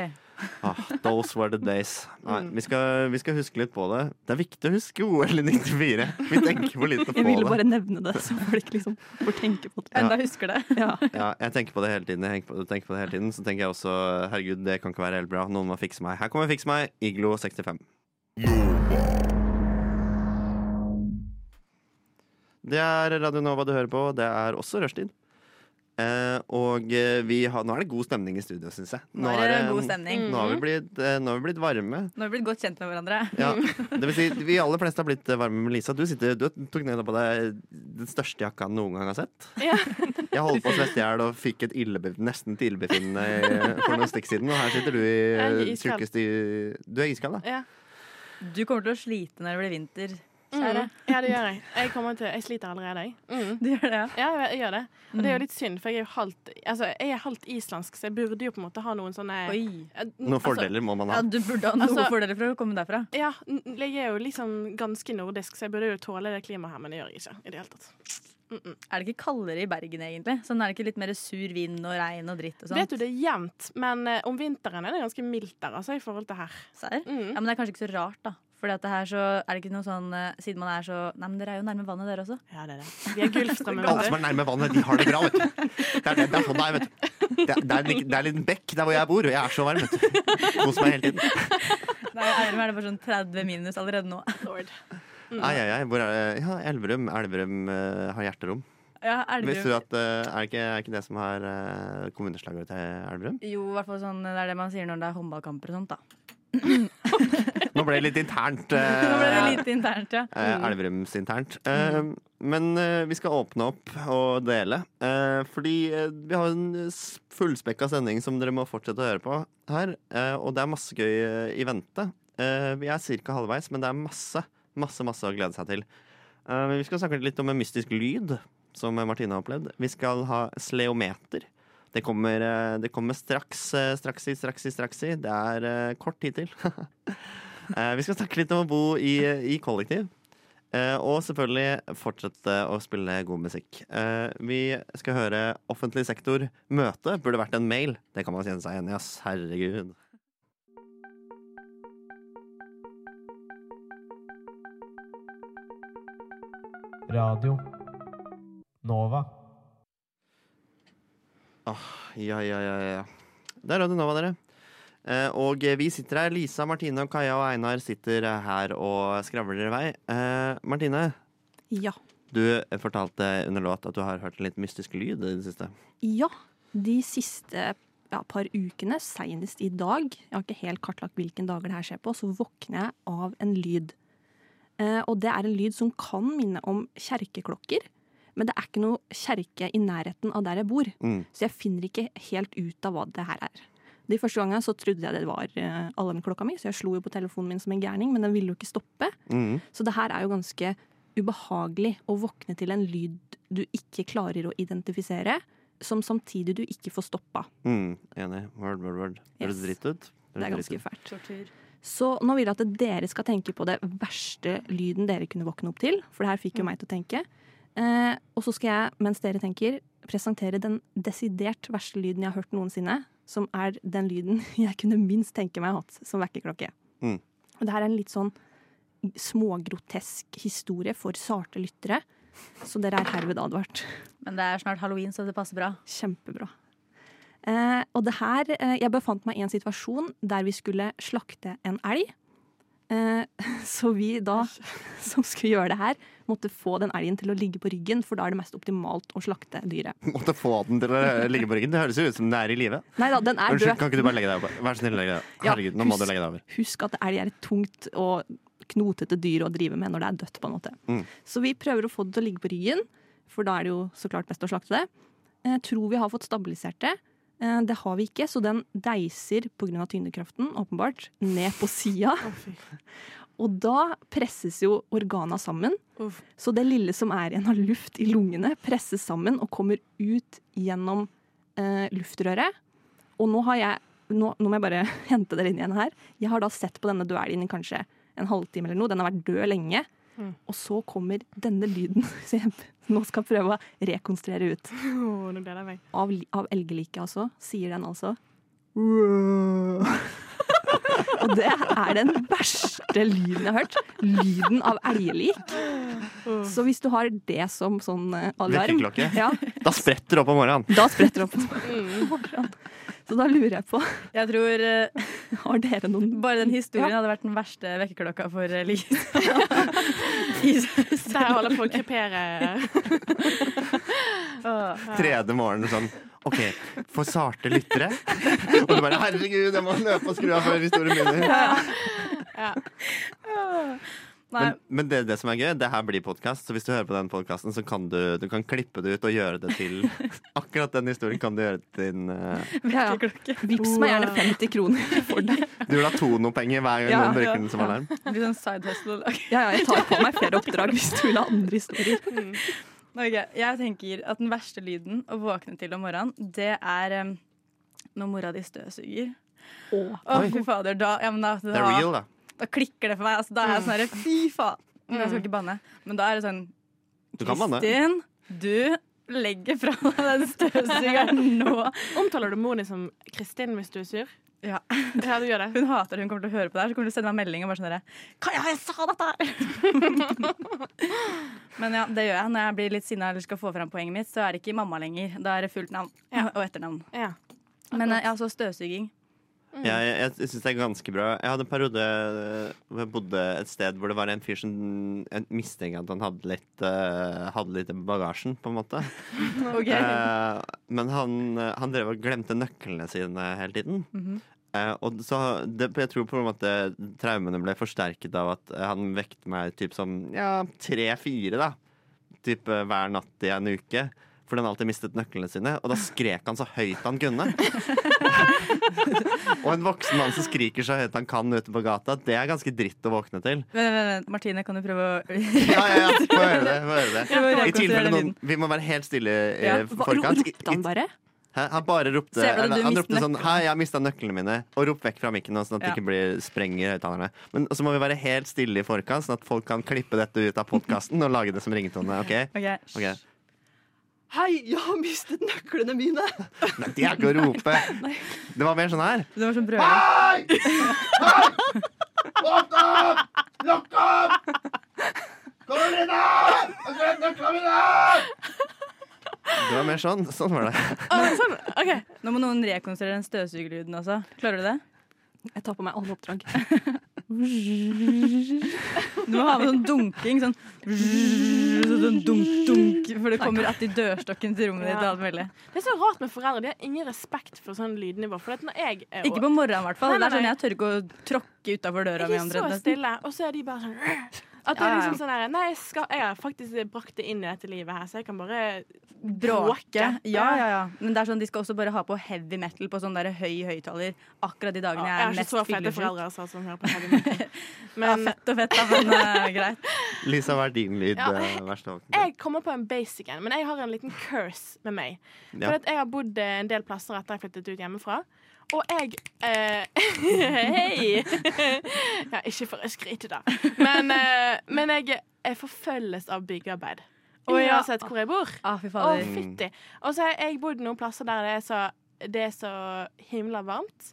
Speaker 5: Ah, those were the days. Nei,
Speaker 7: Mm.
Speaker 5: vi, skal, vi skal huske litt på det. Det er viktig å huske OL i 94. Vi tenker for lite på det.
Speaker 1: Jeg ville bare nevne det, så folk liksom får tenke på det.
Speaker 5: Ja. Enda
Speaker 7: husker det.
Speaker 1: Ja.
Speaker 5: Ja, jeg tenker på det hele tiden. Jeg tenker på, tenker på det hele tiden Så tenker jeg også herregud, det kan ikke være helt bra. Noen må fikse meg. Her kommer Fiks meg, Iglo 65. Det er Radio Nova du hører på. Det er også rushtid. Eh, og eh, vi har, nå er det god stemning i studio, syns jeg.
Speaker 7: Nå er det god stemning. Mhm.
Speaker 5: Nå har vi blitt, eh, nå har vi blitt varme.
Speaker 7: Nå har vi blitt godt kjent med hverandre.
Speaker 5: Ja. Det vil si, vi aller fleste har blitt eh, varme med Lisa. Du, sitter, du tok ned på deg den største jakka han noen gang har sett. Jeg holdt på å svette i hjel og fikk et illebe- nesten et illebefinnende i- for noen stikk siden. Og her sitter du i
Speaker 7: Jeg er
Speaker 5: eh,
Speaker 7: iskald.
Speaker 5: tjukkeste i- Du er iskald, da?
Speaker 7: Du kommer til å slite når det blir vinter, kjære.
Speaker 6: Mm. Ja, det gjør jeg. Jeg, kommer til, jeg sliter allerede, jeg.
Speaker 7: Du gjør det, ja?
Speaker 6: jeg, jeg gjør det. Og det er jo litt synd, for jeg er jo halvt, altså, jeg er halvt islandsk, så jeg burde jo på en måte ha noen sånne
Speaker 7: Oi.
Speaker 6: Eh,
Speaker 5: Noen
Speaker 6: altså-
Speaker 5: fordeler må man ha.
Speaker 7: Mm, Ja, du burde ha noen
Speaker 6: Altså-
Speaker 7: fordeler for å komme derfra.
Speaker 6: Ja, n- jeg er jo liksom ganske nordisk, så jeg burde jo tåle det klimaet her, men det gjør jeg ikke i det hele tatt.
Speaker 7: Er det ikke kaldere i Bergen, egentlig? Sånn Er det ikke litt mer sur vind og regn og dritt og sånt?
Speaker 6: Vet du, det er jevnt, men eh, om vinteren er det ganske mildt der, altså, i forhold til her.
Speaker 7: Ja, men det er kanskje ikke så rart, da. Fordi at det her så er det ikke noe sånn eh, Siden man er så Nei, men dere er jo nærme vannet, dere også.
Speaker 6: Ja, det er det. Vi er Gulfstrømmen,
Speaker 5: Alle som er nærme vannet, de har det bra, vet du. Det er, det, det er sånn det er, vet du. Det er, det, er, en- det er en liten bekk der hvor jeg bor, og jeg er så varm, vet du. Kos meg hele tiden.
Speaker 7: Nei, i Elverum er det bare sånn 30 minus allerede nå. Mm.
Speaker 5: Ai, ai, ai. Hvor er det? Ja, Elverum. Elverum eh, har hjerterom.
Speaker 7: Ja, Elverum.
Speaker 5: Visste du at eh, er, det ikke, er ikke det som har eh, kommuneslagordet til Elverum?
Speaker 7: Jo, i hvert fall sånn Det er det man sier når det er håndballkamper og sånt, da.
Speaker 5: Nå ble det litt internt. eh,
Speaker 7: Nå ble det litt internt, ja.
Speaker 5: eh, Elverumsinternt. Eh, Men eh, vi skal åpne opp og dele. eh, fordi eh, vi har en s- fullspekka sending som dere må fortsette å høre på her. eh, og det er masse gøy eh, i vente. Eh, vi er ca. halvveis, men det er masse, masse, masse å glede seg til. Eh, men vi skal snakke litt om en mystisk lyd, som Martine har opplevd. Vi skal ha sleometer. Det kommer, eh, det kommer straks, eh, straks i, straks i, straks i. Det er eh, kort tid til. Eh, vi skal snakke litt om å bo i, i kollektiv. Eh, og selvfølgelig fortsette å spille god musikk. Eh, vi skal høre offentlig sektor. Møte burde vært en mail. Det kan man kjenne seg igjen i, ass. Herregud.
Speaker 11: Radio Nova.
Speaker 5: Åh, ja, ja, ja, ja. Det er Radio Nova, dere. Eh, og vi sitter her. Lisa, Martine, og Kaja og Einar sitter eh, her og skravler i vei. Eh, Martine,
Speaker 1: Ja.
Speaker 5: du fortalte under låt at du har hørt en litt mystisk lyd i det siste.
Speaker 1: Ja, de siste ja, par ukene, senest i dag, jeg har ikke helt kartlagt hvilken dager det her skjer på, så våkner jeg av en lyd. Eh, og det er en lyd som kan minne om kjerkeklokker, men det er ikke noe kjerke i nærheten av der jeg bor.
Speaker 5: Mm.
Speaker 1: Så jeg finner ikke helt ut av hva det her er. De første gangene så trodde jeg det var eh, alarmklokka mi, så jeg slo jo på telefonen min som en gærning, men den ville jo ikke stoppe.
Speaker 5: Mm.
Speaker 1: Så det her er jo ganske ubehagelig å våkne til en lyd du ikke klarer å identifisere, som samtidig du ikke får stoppa.
Speaker 5: Mm, enig. Word, word, word. Høres
Speaker 1: Yes.
Speaker 5: dritt ut. Høres
Speaker 1: Det er
Speaker 5: dritt
Speaker 1: ganske
Speaker 5: ut.
Speaker 1: fælt. Så nå vil jeg at dere skal tenke på det verste lyden dere kunne våkne opp til, for det her fikk jo meg til å tenke. Eh, og så skal jeg, mens dere tenker, presentere den desidert verste lyden jeg har hørt noensinne, som er den lyden jeg kunne minst tenke meg hatt som vekkerklokke.
Speaker 5: Mm.
Speaker 1: Og det her er en litt sånn smågrotesk historie for sarte lyttere, så dere er herved advart.
Speaker 7: Men det er snart halloween, så det passer bra.
Speaker 1: Kjempebra. Eh, og det her, eh, jeg befant meg i en situasjon der vi skulle slakte en elg. Eh, så vi da, som skulle gjøre det her, måtte få den elgen til å ligge på ryggen, for da er det mest optimalt å slakte dyret.
Speaker 5: Måtte få den til å ligge på ryggen. Det høres jo ut som den er i live.
Speaker 1: Neida, den er
Speaker 5: Unnskyld,
Speaker 1: død.
Speaker 5: kan ikke du bare legge deg over? Vær så snill, legge deg over.
Speaker 1: Ja,
Speaker 5: Herregud, nå må du
Speaker 1: husk-
Speaker 5: legge deg over.
Speaker 1: Husk at elg er et tungt og knotete dyr å drive med når det er dødt, på en måte.
Speaker 5: Mm.
Speaker 1: Så vi prøver å få det til å ligge på ryggen, for da er det jo så klart best å slakte det. Eh, tror vi har fått stabilisert det. Eh, det har vi ikke, så den deiser pga. tyngdekraften, åpenbart, ned på sida. Og da presses jo organa sammen.
Speaker 6: Uff.
Speaker 1: Så det lille som er igjen av luft i lungene, presses sammen og kommer ut gjennom eh, luftrøret. Og nå har jeg nå, nå må jeg bare hente dere inn igjen her. Jeg har da sett på denne duellen i kanskje en halvtime eller noe. Den har vært død lenge. Og så kommer denne lyden som jeg nå skal prøve å rekonstruere ut.
Speaker 6: Åh, nå gleder jeg meg.
Speaker 1: Av, li- av elgeliket altså, sier den altså. Og det er den verste lyden jeg har hørt. Lyden av elgelik. Så hvis du har det som sånn eh, alarm
Speaker 5: Vekkerklokke.
Speaker 1: Ja,
Speaker 5: Da spretter det opp om morgenen.
Speaker 1: da spretter det opp. Så da lurer jeg på
Speaker 7: Jeg tror eh,
Speaker 1: Har dere noen
Speaker 7: bare den historien
Speaker 1: Ja.
Speaker 7: hadde vært den verste vekkerklokka for eh, Li.
Speaker 6: Der holder jeg på å krepere.
Speaker 5: Tredje morgenen sånn OK, for sarte lyttere. Og du bare 'herregud, jeg må løpe og skru av før historien begynner'.
Speaker 7: Nei,
Speaker 5: Men, men det, er det som er gøy, det her blir podkast, så hvis du hører på den podkasten, så kan du, du kan klippe det ut og gjøre det til Akkurat den historien kan du gjøre til din eh,
Speaker 1: ja, ja. Vips meg gjerne 50 kroner for det.
Speaker 5: Du vil ha Tono-penger hver gang
Speaker 1: Ja,
Speaker 5: noen bruker
Speaker 1: ja.
Speaker 5: den som alarm.
Speaker 7: det blir sånn side hustle.
Speaker 1: Ja, ja, jeg tar på meg flere oppdrag hvis du vil ha andre historier.
Speaker 7: Ok, Jeg tenker at den verste lyden å våkne til om morgenen, det er em, når mora di støvsuger. Å,
Speaker 5: Oi.
Speaker 7: fy fader. Da, ja, men da,
Speaker 5: Det er real, da.
Speaker 7: da klikker det for meg. Altså, da er jeg sånn herre, fy faen. Men Jeg skal ikke banne, men da er det sånn
Speaker 5: Du kan banne.
Speaker 7: Kristin, du legger fra deg den støvsugeren nå.
Speaker 6: Omtaler du moren din som Kristin hvis du er sur?
Speaker 7: Ja.
Speaker 6: Ja, du gjør det.
Speaker 7: Hun hater det, hun kommer til å høre på det her, så kommer hun til å sende meg en melding og bare sånn herre Kaja, jeg sa dette her! Men ja, det gjør jeg. Når jeg blir litt sinna eller skal få fram poenget mitt, så er det ikke mamma lenger. Da er det fullt navn og etternavn. Men eh, ja, så støvsuging.
Speaker 5: Jeg, jeg, jeg syns det er ganske bra. Jeg hadde en periode eh, hvor jeg bodde et sted hvor det var en fyr som jeg mistenker at han hadde litt, eh, hadde litt i bagasjen, på en måte.
Speaker 7: Ok.
Speaker 5: Eh, men han, eh, han drev og glemte nøklene sine hele tiden.
Speaker 7: Mhm.
Speaker 5: Eh, og så, det, jeg tror på en måte eh, traumene ble forsterket av at eh, han vekte meg typ som ja, tre-fire da Typ eh, hver natt i en uke. Fordi han alltid mistet nøklene sine. Og da skrek han så høyt han kunne. og en voksen mann som skriker så høyt han kan ute på gata, det er ganske dritt å våkne til.
Speaker 7: Vent, vent, vent. Martine, kan du prøve å
Speaker 5: Ja, ja, ja, få høre det. Få høre det. I
Speaker 7: Jeg må rekonstruere
Speaker 5: tilfelle noen Vi må være helt stille i
Speaker 7: Ja. Hva-
Speaker 5: forkant. I-
Speaker 1: Ropte han bare?
Speaker 5: Hæ? Han bare ropte
Speaker 1: Ser du at
Speaker 5: eller,
Speaker 1: du
Speaker 5: Han
Speaker 1: mister
Speaker 5: ropte sånn Hei, jeg har mista nøklene mine. Og rop vekk fra mikken, sånn at det
Speaker 1: Ja.
Speaker 5: ikke blir spreng i høyttalerne. Men så må vi være helt stille i forkant, sånn at folk kan klippe dette ut av podkasten og lage det som ringetone. OK?
Speaker 7: Ok.
Speaker 5: Ok.
Speaker 1: Hei, jeg har mistet nøklene mine!
Speaker 5: Nei, det er ikke å rope. Det var mer sånn her.
Speaker 7: Det var som
Speaker 3: Lukk opp! Kom inn her! Jeg glemte nøklene mine!
Speaker 5: Det var mer sånn. Sånn var det.
Speaker 7: Nå må noen rekonstruere den støvsugerlyden også. Klarer du det?
Speaker 1: Jeg tar på meg alle oppdrag.
Speaker 7: Du må ha med sånn dunking. Sånn, sånn dunk, dunk. For det kommer att i dørstokken til rommet ditt. og alt mulig.
Speaker 6: Det er så rart med foreldre. De har ingen respekt for sånn lydnivå. For at når jeg er
Speaker 7: Ikke på morgenen, i hvert fall.
Speaker 6: Nei, nei,
Speaker 7: Det er sånn
Speaker 6: nei.
Speaker 7: Jeg tør ikke å tråkke utafor døra mi.
Speaker 6: Jeg er
Speaker 7: omtrent,
Speaker 6: så
Speaker 7: nesten.
Speaker 6: stille, og så er de bare sånn «Rrr». At det
Speaker 7: Ja,
Speaker 6: er
Speaker 7: ja.
Speaker 6: liksom sånn her, Nei, jeg, skal, jeg har faktisk brakt det inn i dette livet her, så jeg kan bare
Speaker 7: sånn Bråke. Ja, ja, ja. Men det er sånn, de skal også bare ha på heavy metal på sånn der høy høyttaler akkurat de dagene
Speaker 6: Jeg
Speaker 7: jeg
Speaker 6: har
Speaker 7: er
Speaker 6: ikke
Speaker 7: mest
Speaker 6: så fete foreldre
Speaker 7: fyllesyk.
Speaker 6: altså, som hører på heavy metal.
Speaker 7: Ja, fett og fett, da, men eh, greit.
Speaker 5: Lisa, hva er din lyd?
Speaker 6: Ja.
Speaker 5: eh, Verst av alt?
Speaker 6: Jeg kommer på en basic en, men jeg har en liten curse med meg.
Speaker 5: Ja.
Speaker 6: For at jeg har bodd eh, en del plasser etter jeg flyttet ut hjemmefra. Og jeg eh, Hei! ja, ikke for å skryte, da. Men, eh, men jeg, jeg forfølges av byggearbeid.
Speaker 7: Å, ja.
Speaker 6: Uansett hvor jeg bor.
Speaker 7: Ah, fy
Speaker 6: Å,
Speaker 7: fader.
Speaker 6: fytti. Og så har jeg bodd noen plasser der det er så, det er så himla varmt.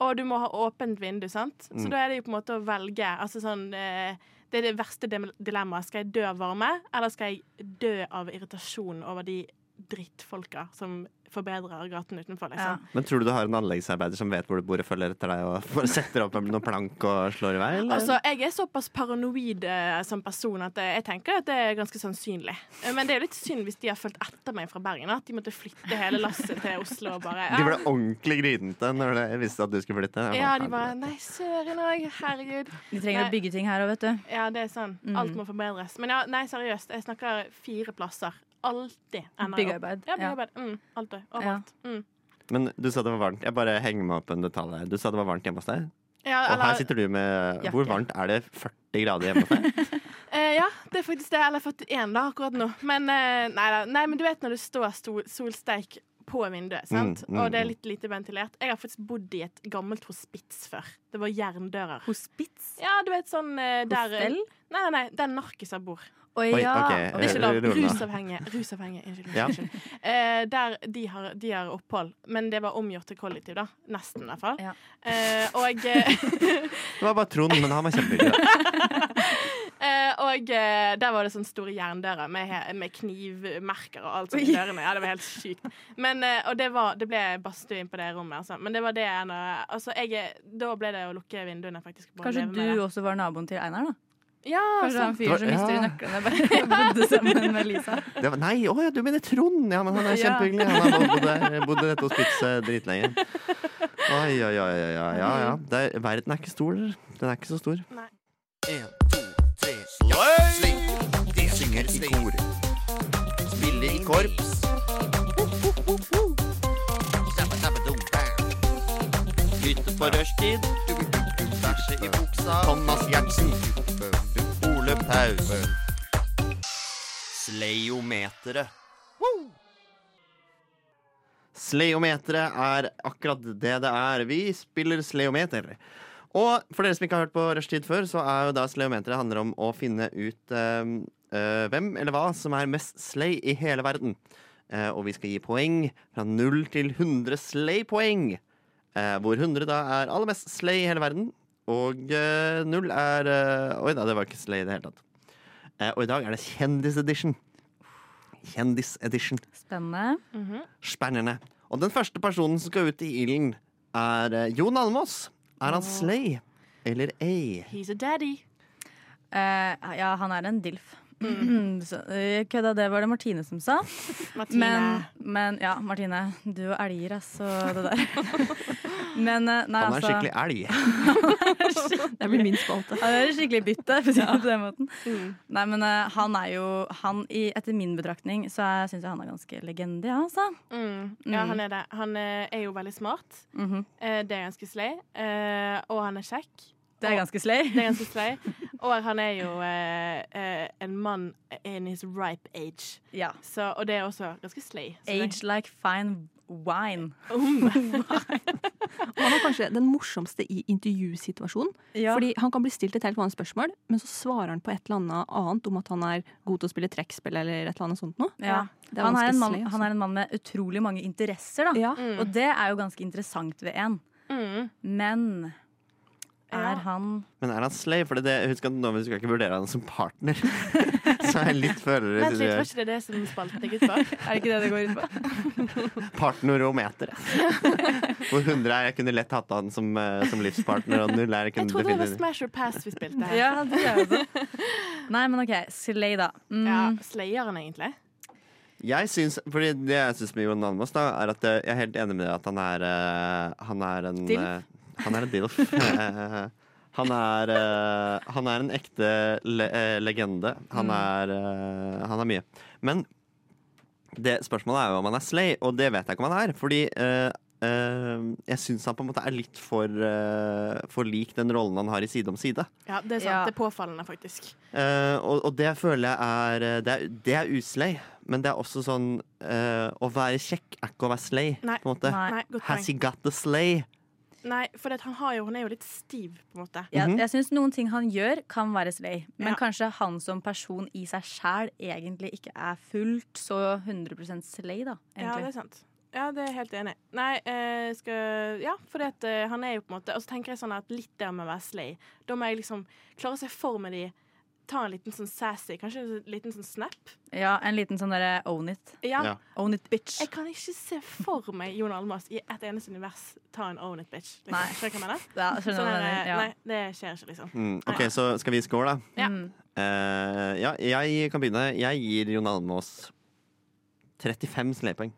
Speaker 6: Og du må ha åpent vindu, sant? Så
Speaker 7: Mm.
Speaker 6: da er det jo på en måte å velge. Altså sånn eh, Det er det verste dem- dilemmaet. Skal jeg dø av varme, eller skal jeg dø av irritasjon over de drittfolka som forbedrer gaten utenfor, liksom?
Speaker 5: Men tror du du har en anleggsarbeider som vet hvor du bor og følger etter deg og bare setter opp noen plank og slår i vei? Eller?
Speaker 6: Altså, jeg er såpass paranoid eh, som person at eh, jeg tenker at det er ganske sannsynlig. Eh, Men det er jo litt synd hvis de har fulgt etter meg fra Bergen. At de måtte flytte hele lasset til Oslo og bare
Speaker 5: De ble ordentlig grinete når de visste at du skulle flytte. Jeg
Speaker 6: Ja,
Speaker 5: bare,
Speaker 6: de bare Nei, søren òg. Herregud.
Speaker 7: Vi trenger å
Speaker 6: Nei.
Speaker 7: bygge ting her òg, vet du.
Speaker 6: Ja, det er sånn. Alt
Speaker 7: Mm.
Speaker 6: må forbedres. Men ja, nei, seriøst. Jeg snakker fire plasser. Alltid ender jeg opp-
Speaker 7: Byggearbeid,
Speaker 6: Ja,
Speaker 7: ja.
Speaker 6: byggearbeid. Mm, alltid. Overalt. Mm.
Speaker 5: Men du sa det var varmt. Jeg bare henger meg opp en detalj her. Du sa det var varmt hjemme hos deg.
Speaker 6: Ja,
Speaker 5: og her
Speaker 6: eller-
Speaker 5: sitter du med
Speaker 6: Jakke.
Speaker 5: Hvor varmt er det? 40 grader hjemme hos deg?
Speaker 6: Eh, ja, det er faktisk det. Eller 41, da, akkurat nå. Men, eh, nei, da. nei, men du vet når du står stol, solsteik på vinduet, sant?
Speaker 5: Mm, mm,
Speaker 6: og det er
Speaker 5: mm.
Speaker 6: litt lite ventilert. Jeg har faktisk bodd i et gammelt hospits før. Det var jerndører.
Speaker 7: Hospits?
Speaker 6: Ja, du vet sånn eh, der
Speaker 7: Hostell?
Speaker 6: Nei, nei, der narkiser bor.
Speaker 7: Oi, Oi, ja. ok,
Speaker 6: Det
Speaker 7: eh,
Speaker 6: er ikke
Speaker 5: jeg
Speaker 6: lov.
Speaker 5: lurer meg.
Speaker 6: Rusavhengige. Rusavhengige. Unnskyld.
Speaker 5: Ja.
Speaker 6: unnskyld. Eh, der de har, de har opphold, men det var omgjort til kollektiv, da. Nesten, i hvert fall. Eh, og
Speaker 5: Det var bare Trond, men han var kjempehyggelig.
Speaker 6: Eh, og eh, der var det sånne store jerndører med, he- med knivmerker og alt sånt i
Speaker 14: Oi.
Speaker 6: dørene. Ja, det var helt sykt. Men, eh, og det, var, det ble badstue inn på det rommet, altså. Men det var det ene altså, jeg, er- Da ble det å lukke vinduene, faktisk. bare
Speaker 7: Kanskje
Speaker 6: leve med
Speaker 7: du
Speaker 6: det.
Speaker 7: også var naboen til Einar, da?
Speaker 6: Ja,
Speaker 7: Kanskje det var en
Speaker 5: Det var-
Speaker 7: fyr som mister
Speaker 5: ja.
Speaker 7: nøklene bare bodde sammen med Lisa.
Speaker 5: Det var, nei, å ja, du mener Trond! Ja, men han er
Speaker 7: Ja.
Speaker 5: kjempehyggelig. Han har bodd der- bodd i dette hospitset dritlenge. Oi, oi, oi, oi, oi, ja, ja. Det er, verden er ikke stor. Den er ikke så stor.
Speaker 15: En, to, tre, ja, sling. De synger i kor. Spiller i korps. Dabba, dabba, dum, bam. Lytte på rushtid. Bæsje i buksa. Thomas Gjertsen. Ole Paus.
Speaker 5: Sleiometeret. Sleiometeret er akkurat det det er. Vi spiller sleiometer. Og for dere som ikke har hørt på Rushtid før, så er jo da sleiometeret handler om å finne ut eh, eh, hvem eller hva som er mest slay i hele verden. Eh, og vi skal gi poeng fra 0 til 100 slay-poeng. Eh, hvor 100 da er aller mest slay i hele verden. Og eh, 0 er eh, Oi da, det var ikke slay i det hele tatt. Eh, og i dag er det kjendisedition. Kjendisedition.
Speaker 7: Spennende.
Speaker 5: Spennende. Og den første personen som skal ut i ilden, er eh, Jon Almås. Er han slay eller ei?
Speaker 6: He's a daddy.
Speaker 7: Eh, ja, han er en dilf. Så, eh, kødda, det var det Martine som sa.
Speaker 6: Martine.
Speaker 7: Men, men ja, Martine. Du og elger, altså. Det der. Men eh, nei,
Speaker 5: Han er
Speaker 7: altså
Speaker 5: skikkelig elg.
Speaker 1: Det blir min spalte.
Speaker 7: Ja, det er et skikkelig bytte, for å si det på den måten. Nei, men eh, han er jo han, i, Etter min betraktning så syns jeg han er ganske legende, ja, altså.
Speaker 6: Mm. Ja,
Speaker 7: Mm.
Speaker 6: han er det. Han eh, er jo veldig smart.
Speaker 7: Mhm.
Speaker 6: Eh, det er ganske slay. Eh, og han er kjekk.
Speaker 7: Det er
Speaker 6: Og-
Speaker 7: ganske slay.
Speaker 6: Det er ganske slay. Og han er jo eh, eh, en mann in his ripe age. Så, og det er også ganske slay. Så det-
Speaker 7: Age like fine wine.
Speaker 1: Og han er kanskje den morsomste i intervjusituasjonen.
Speaker 7: Ja.
Speaker 1: Fordi han kan bli stilt et helt vanlig spørsmål, men så svarer han på et eller annet annet om at han er god til å spille trekkspill eller et eller annet sånt noe.
Speaker 7: Ja.
Speaker 1: Det
Speaker 7: Han, er
Speaker 1: ganske
Speaker 7: en mann,
Speaker 1: slay, altså.
Speaker 7: han er en mann med utrolig mange interesser, da.
Speaker 1: Mm.
Speaker 7: Og det er jo ganske interessant ved en.
Speaker 6: Mm.
Speaker 7: Men er han
Speaker 5: Men er han slay? For det, det- husk at nå vi skal ikke vurdere han som partner. Så jeg litt føler
Speaker 6: Vent litt, var ikke det det som spalten gikk ut på?
Speaker 7: er det ikke det det går ut på?
Speaker 5: partnerometer. Hvor 100 er jeg kunne lett hatt han som, eh, som livspartner, og 0 er jeg
Speaker 6: Jeg
Speaker 5: kunne
Speaker 6: trodde det var
Speaker 5: definitivt
Speaker 6: Smash or Pass vi spilte her.
Speaker 7: Ja, det er jo det. Nei, men OK. Slay, da. Mm.
Speaker 6: Ja, Slayer han egentlig?
Speaker 5: Jeg syns, fordi Det jeg syns med Jon Almaas, da, er at jeg er helt enig med deg at han er eh, Han er en
Speaker 6: Dilf?
Speaker 5: eh, han er en dilf. Eh, han, er, eh, han er en ekte le eh, legende. Han, er, eh, han er mye. Men det spørsmålet er jo om han er slay, og det vet jeg ikke om han er. Fordi eh, eh, jeg syns han på en måte er litt for, eh, for lik den rollen han har i Side om side.
Speaker 6: Ja, det er sant.
Speaker 7: Ja.
Speaker 6: Det er påfallende, faktisk.
Speaker 5: Eh, og, og det føler jeg er eh, Det er, det er uslay, men det er også sånn eh, Å være kjekk er ikke å være slay,
Speaker 6: Nei.
Speaker 5: på en måte.
Speaker 6: Nei. Nei, godt
Speaker 5: Has
Speaker 6: poeng.
Speaker 5: he got the slay?
Speaker 6: Nei, for det, at han, har jo, han er jo litt stiv, på en måte.
Speaker 7: Jeg, jeg syns noen ting han gjør, kan være slay. Men kanskje han som person i seg sjæl egentlig ikke er fullt så 100 slay, da.
Speaker 6: Ja, det er
Speaker 7: Egentlig.
Speaker 6: sant. Ja, det er jeg helt enig. i. Nei, eh, skal, ja, for det at, eh, han er jo på en måte Og så tenker jeg sånn at litt der med å være slay. Da må jeg liksom klare å se for meg de Ta en liten sånn sassy, kanskje en liten sånn snap.
Speaker 7: Ja, en liten sånn derre own it.
Speaker 6: Ja. Ja.
Speaker 7: Own it, bitch.
Speaker 6: Jeg kan ikke se for meg Jon Almaas i et eneste univers ta en own it, bitch. Liksom.
Speaker 7: Nei.
Speaker 6: Skjønner du hva jeg mener?
Speaker 7: Ja, skjønner
Speaker 6: Sånn
Speaker 7: hva du
Speaker 6: der,
Speaker 7: mener, ja.
Speaker 6: Nei, det skjer ikke, liksom.
Speaker 5: Mm, OK, så skal vi score, da?
Speaker 6: Ja.
Speaker 5: Eh, ja, jeg kan begynne. Jeg gir Jon Almaas 35 slaypoeng.